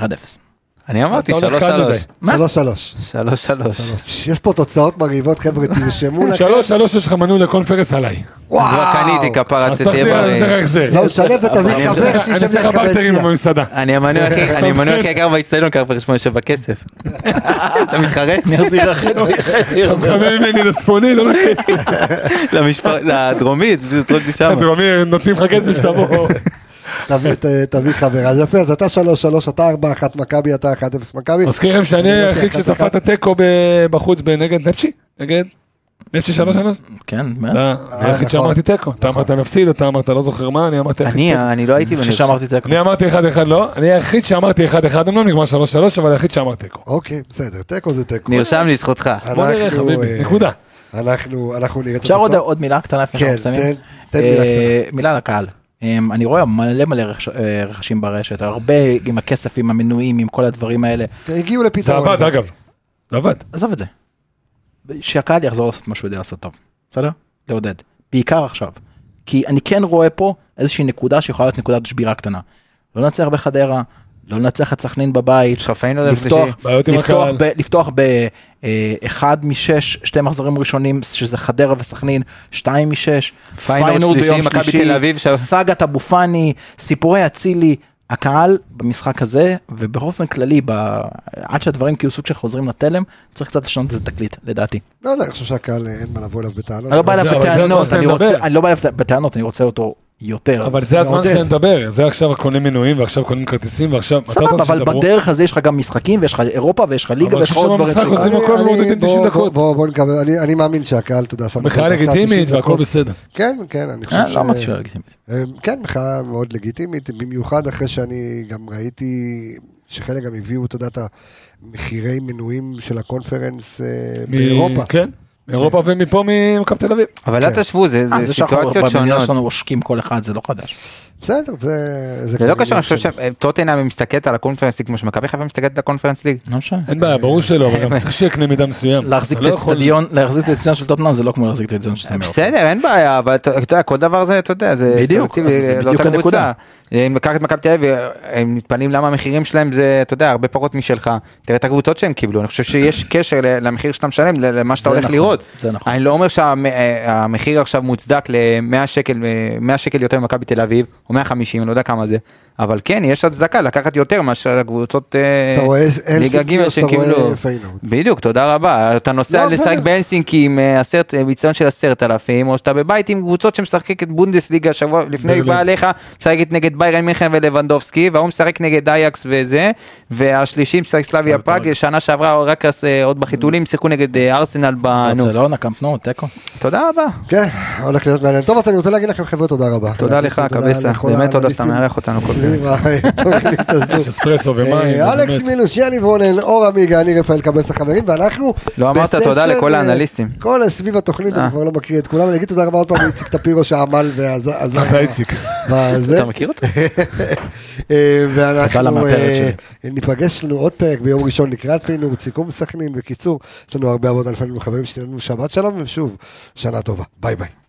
B: אני אמרתי
C: אתה הולך קל
B: 3-3.
F: מה?
A: שלוש שלוש.
B: 3-3.
A: יש פה תוצאות מרהיבות, חבר'ה, תרשמו לכם.
C: שלוש שלוש יש לך מנוי לקונפרנס עליי.
B: כבר קניתי כפרה,
C: אז
B: זה תהיה
C: תחזיר, אני צריך
B: בריא.
C: להחזיר.
A: לא, תשלם ותביא
B: אני
A: חבר
C: אני
A: שישב
C: צריך
A: לידך
C: הברטרים
A: ביציע.
C: במסעדה.
B: אני המנוי הכי- אני המנוי הכי יקר באצטדיון, קר פרש 8 שבע כסף. אתה מתחרט?
F: אני אחזיר לך חצי, חצי.
C: אתה מקבל ממני לצפוני, לא לכסף.
B: למשפט, לדרומית, זה זרוק לי שם.
C: הדרומי, נותנים לך כסף שתבוא.
A: תביא- ת- תביא חבר. אז יפה, אז אתה שלוש שלוש, אתה ארבע אחת מכבי, אתה אחת אפס מכבי.
C: מזכיר לכם שאני
A: אני
C: היחיד
A: לוקח
C: שצפה
A: אחת.
C: את התיקו ב- בחוץ בנגד נפצ'י? נגד? נפצ'י שלוש שלוש?
F: כן, מה?
C: אתה לא, היחיד
A: נכון.
C: שאמרתי תיקו. אתה אמרת נפסיד, אתה אמרת לא זוכר מה, אני אמרתי...
B: אני, אני לא הייתי בנבחרת.
F: כשאמרתי תיקו.
C: אני אמרתי אחד אחד לא, אני היחיד שאמרתי אחד אחד אמנם נגמר שלוש שלוש אבל היחיד שאמר תיקו.
A: אוקיי, בסדר, תיקו זה תיקו.
B: נרשם לזכותך.
C: בוא נראה
A: אנחנו,
C: חביבי,
A: אה,
C: נקודה.
A: אנחנו אנחנו נראה את
F: אפשר עוד- עוד מילה קטנה לפני
A: כן,
F: שאנחנו מסיימים?
A: תן- תן מילה
F: אה, מילה לקהל. אה, אני רואה מלא מלא רכש- אה, רכשים ברשת, הרבה עם הכסף, עם המנויים, עם כל הדברים האלה.
A: הגיעו
C: זה
A: לפתרון.
C: עבד, אגב. זה עבד.
F: עזוב את זה. שהקהל יחזור לעשות מה שהוא יודע לעשות טוב, בסדר? לעודד. בעיקר עכשיו. כי אני כן רואה פה איזושהי נקודה שיכולה להיות נקודת שבירה קטנה. לא לנצח בחדרה, לא לנצח את סכנין בבית,
B: יש לך פיינל ערב
F: לפתוח,
B: שלישי.
C: בעיות עם
F: לפתוח,
C: הקהל.
F: ב, לפתוח באחד משש, שתי מחזורים ראשונים, שזה חדרה וסכנין, שתיים משש,
B: פיינל שלישי, מכבי תל אביב, ש-
F: סאגת אבו פאני, סיפורי אצילי, הקהל במשחק הזה, ובאופן כללי, ב... עד שהדברים כאילו סוג של חוזרים לתלם, צריך קצת לשנות את התקליט, לדעתי.
A: לא יודע, אני חושב שהקהל אה, אין מה לבוא אליו בטענות.
F: אני לא בא
C: אבל
F: אליו
C: זה- אבל זה הזמן
F: בטענות,
C: שאתה
F: אני רוצה-
C: מדבר.
F: אני לא בא אליו בטענות, אני רוצה אותו יותר.
C: אבל זה הזמן
A: לעודד.
C: שאתה מדבר, זה עכשיו קונים מנויים ועכשיו קונים כרטיסים ועכשיו... מתי אתה
F: סבבה,
C: רוצה
F: אבל
C: שידברו?
F: בדרך הזה יש לך גם משחקים, ויש לך אירופה, ויש לך ליגה,
C: אבל
F: ויש לך עוד
C: ששם
F: דברים.
C: המשחק
F: שלא-
C: עושים
A: אני-
C: הכל
A: אני-
C: מעודדים
A: בוא-
C: 90 דקות.
A: בוא- בוא נקווה, אני- אני מאמין שהקהל, אתה יודע, שם...
C: מחאה
A: אותו בצד 90
C: לגיטימית והכל
A: דקות.
C: בסדר.
A: כן, כן, אני
F: אה, לא
A: חושב
F: אמרתי
A: ש...
F: שלא לגיטימית.
A: אמ, כן, מחאה מאוד לגיטימית, במיוחד אחרי שאני גם ראיתי שחלק גם הביאו, אתה יודע, את המחירי מנויים של הקונפרנס אה,
C: מ-
A: באירופה.
C: כן, מאירופה ומפה ממכבי תל אביב.
B: אבל אל
A: כן.
B: תשוו, זה
F: אה,
B: זה
F: זה שאנחנו
B: סיטואציות
F: במדינה
B: שונות.
F: שלנו עושקים כל אחד, זה לא חדש.
A: בסדר, זה...
B: זה
A: כבר
B: לא קשור,
A: עניין
B: אני חושב
A: של-
F: כן.
B: שטוטנאם מסתכלת על הקונפרנס ליג כמו שמכבי חיפה מסתכלת על הקונפרנס ליג.
F: לא משנה.
C: אין בעיה, ברור שלא, אבל גם צריך שיהיה קנה מידה מסוים.
F: להחזיק את
C: אתה לא יכול-
F: האצטדיון, להחזיק את האצטדיון של טוטנאם זה לא כמו להחזיק את האצטדיון של סמי עופר.
B: אה, בסדר, אין בעיה, אבל אתה אתה יודע, כל דבר זה, אתה יודע, זה
F: אוקיי. בדיוק,
B: סלקטיבי,
F: אז זה
B: לאותה
F: בדיוק
B: קבוצה.
F: הנקודה.
B: אם ניקח את מכבי תל אביב, הם מתפלאים למה המחירים שלהם זה, אתה יודע, הרבה פחות משלך. תראה את הקבוצות שהם קיבלו, אני חושב שיש קשר ל- למחיר שאתה משלם, ל- למה שאתה
F: זה
B: הולך
F: נכון,
B: לראות.
F: זה נכון.
B: אני לא אומר שהמחיר עכשיו מוצדק ל-100 שקל, אה, 100 שקל יותר ממכבי תל אביב, או 150, אני לא יודע כמה זה, אבל כן, יש הצדקה לקחת יותר מאשר הקבוצות אה,
A: אתה רואה אלסינקי
B: ליגה ג'
A: או שאתה
B: שקיבלו.
A: רואה פיינורד?
B: בדיוק, תודה רבה. אתה נוסע
A: לא,
B: לשחק
A: בסדר.
B: בהלסינקי עם אה, עשרת, אה, ביצעון של עשרת אלפים, או שאתה בבית עם קבוצות שמשחקת בונדסליגה שבוע לפני היא
C: ברלין.
B: באה עליך, משחקת נגד ביירן מיכן ולבנדובסקי, וההוא משחק נגד אייקס וזה, והשלישי משחק סלאביה פראג, שנה שעברה רק אז, אה, עוד בחיתולים, שיחקו נגד אה, ארסנל ב... נו.
F: ברצלונה, קמפנו, לא תיקו.
B: תודה רבה.
A: כן, הולך להיות מעניין. טוב, אז אני רוצה להגיד לכם, חבר'ה, תודה רבה.
B: תודה לך, קבסה.
A: לכל
B: באמת תודה שאתה
A: האנליסטים
B: מארח אותנו כל
A: סביב התוכנית הזו.
C: יש אספרסו ומים.
A: אה, אלכס
C: באמת.
A: מילוש, יניב רונן, אור עמיגה, אני רפאל קבס החברים, ואנחנו...
B: לא אמרת
A: בסשן,
B: תודה לכל
A: אה,
B: האנליסטים.
A: כל סביב התוכנית,
B: אה.
A: אני כבר לא מקריא את כולם, אני אגיד תודה רבה עוד פעם לאיציק טפירו שעמל ועזר.
F: אה.
C: אחלה איציק.
A: בזה.
B: אתה מכיר אותו?
A: אה,
F: תודה
A: ואנחנו
F: למאפרת
A: אה, ניפגש לנו עוד פרק ביום ראשון לקראת פינוק, סיכום סכנין. בקיצור, יש לנו הרבה עבודה לפנינו, חברים, שתהיה לנו שבת שלום, ושוב, שנה טובה. ביי ביי.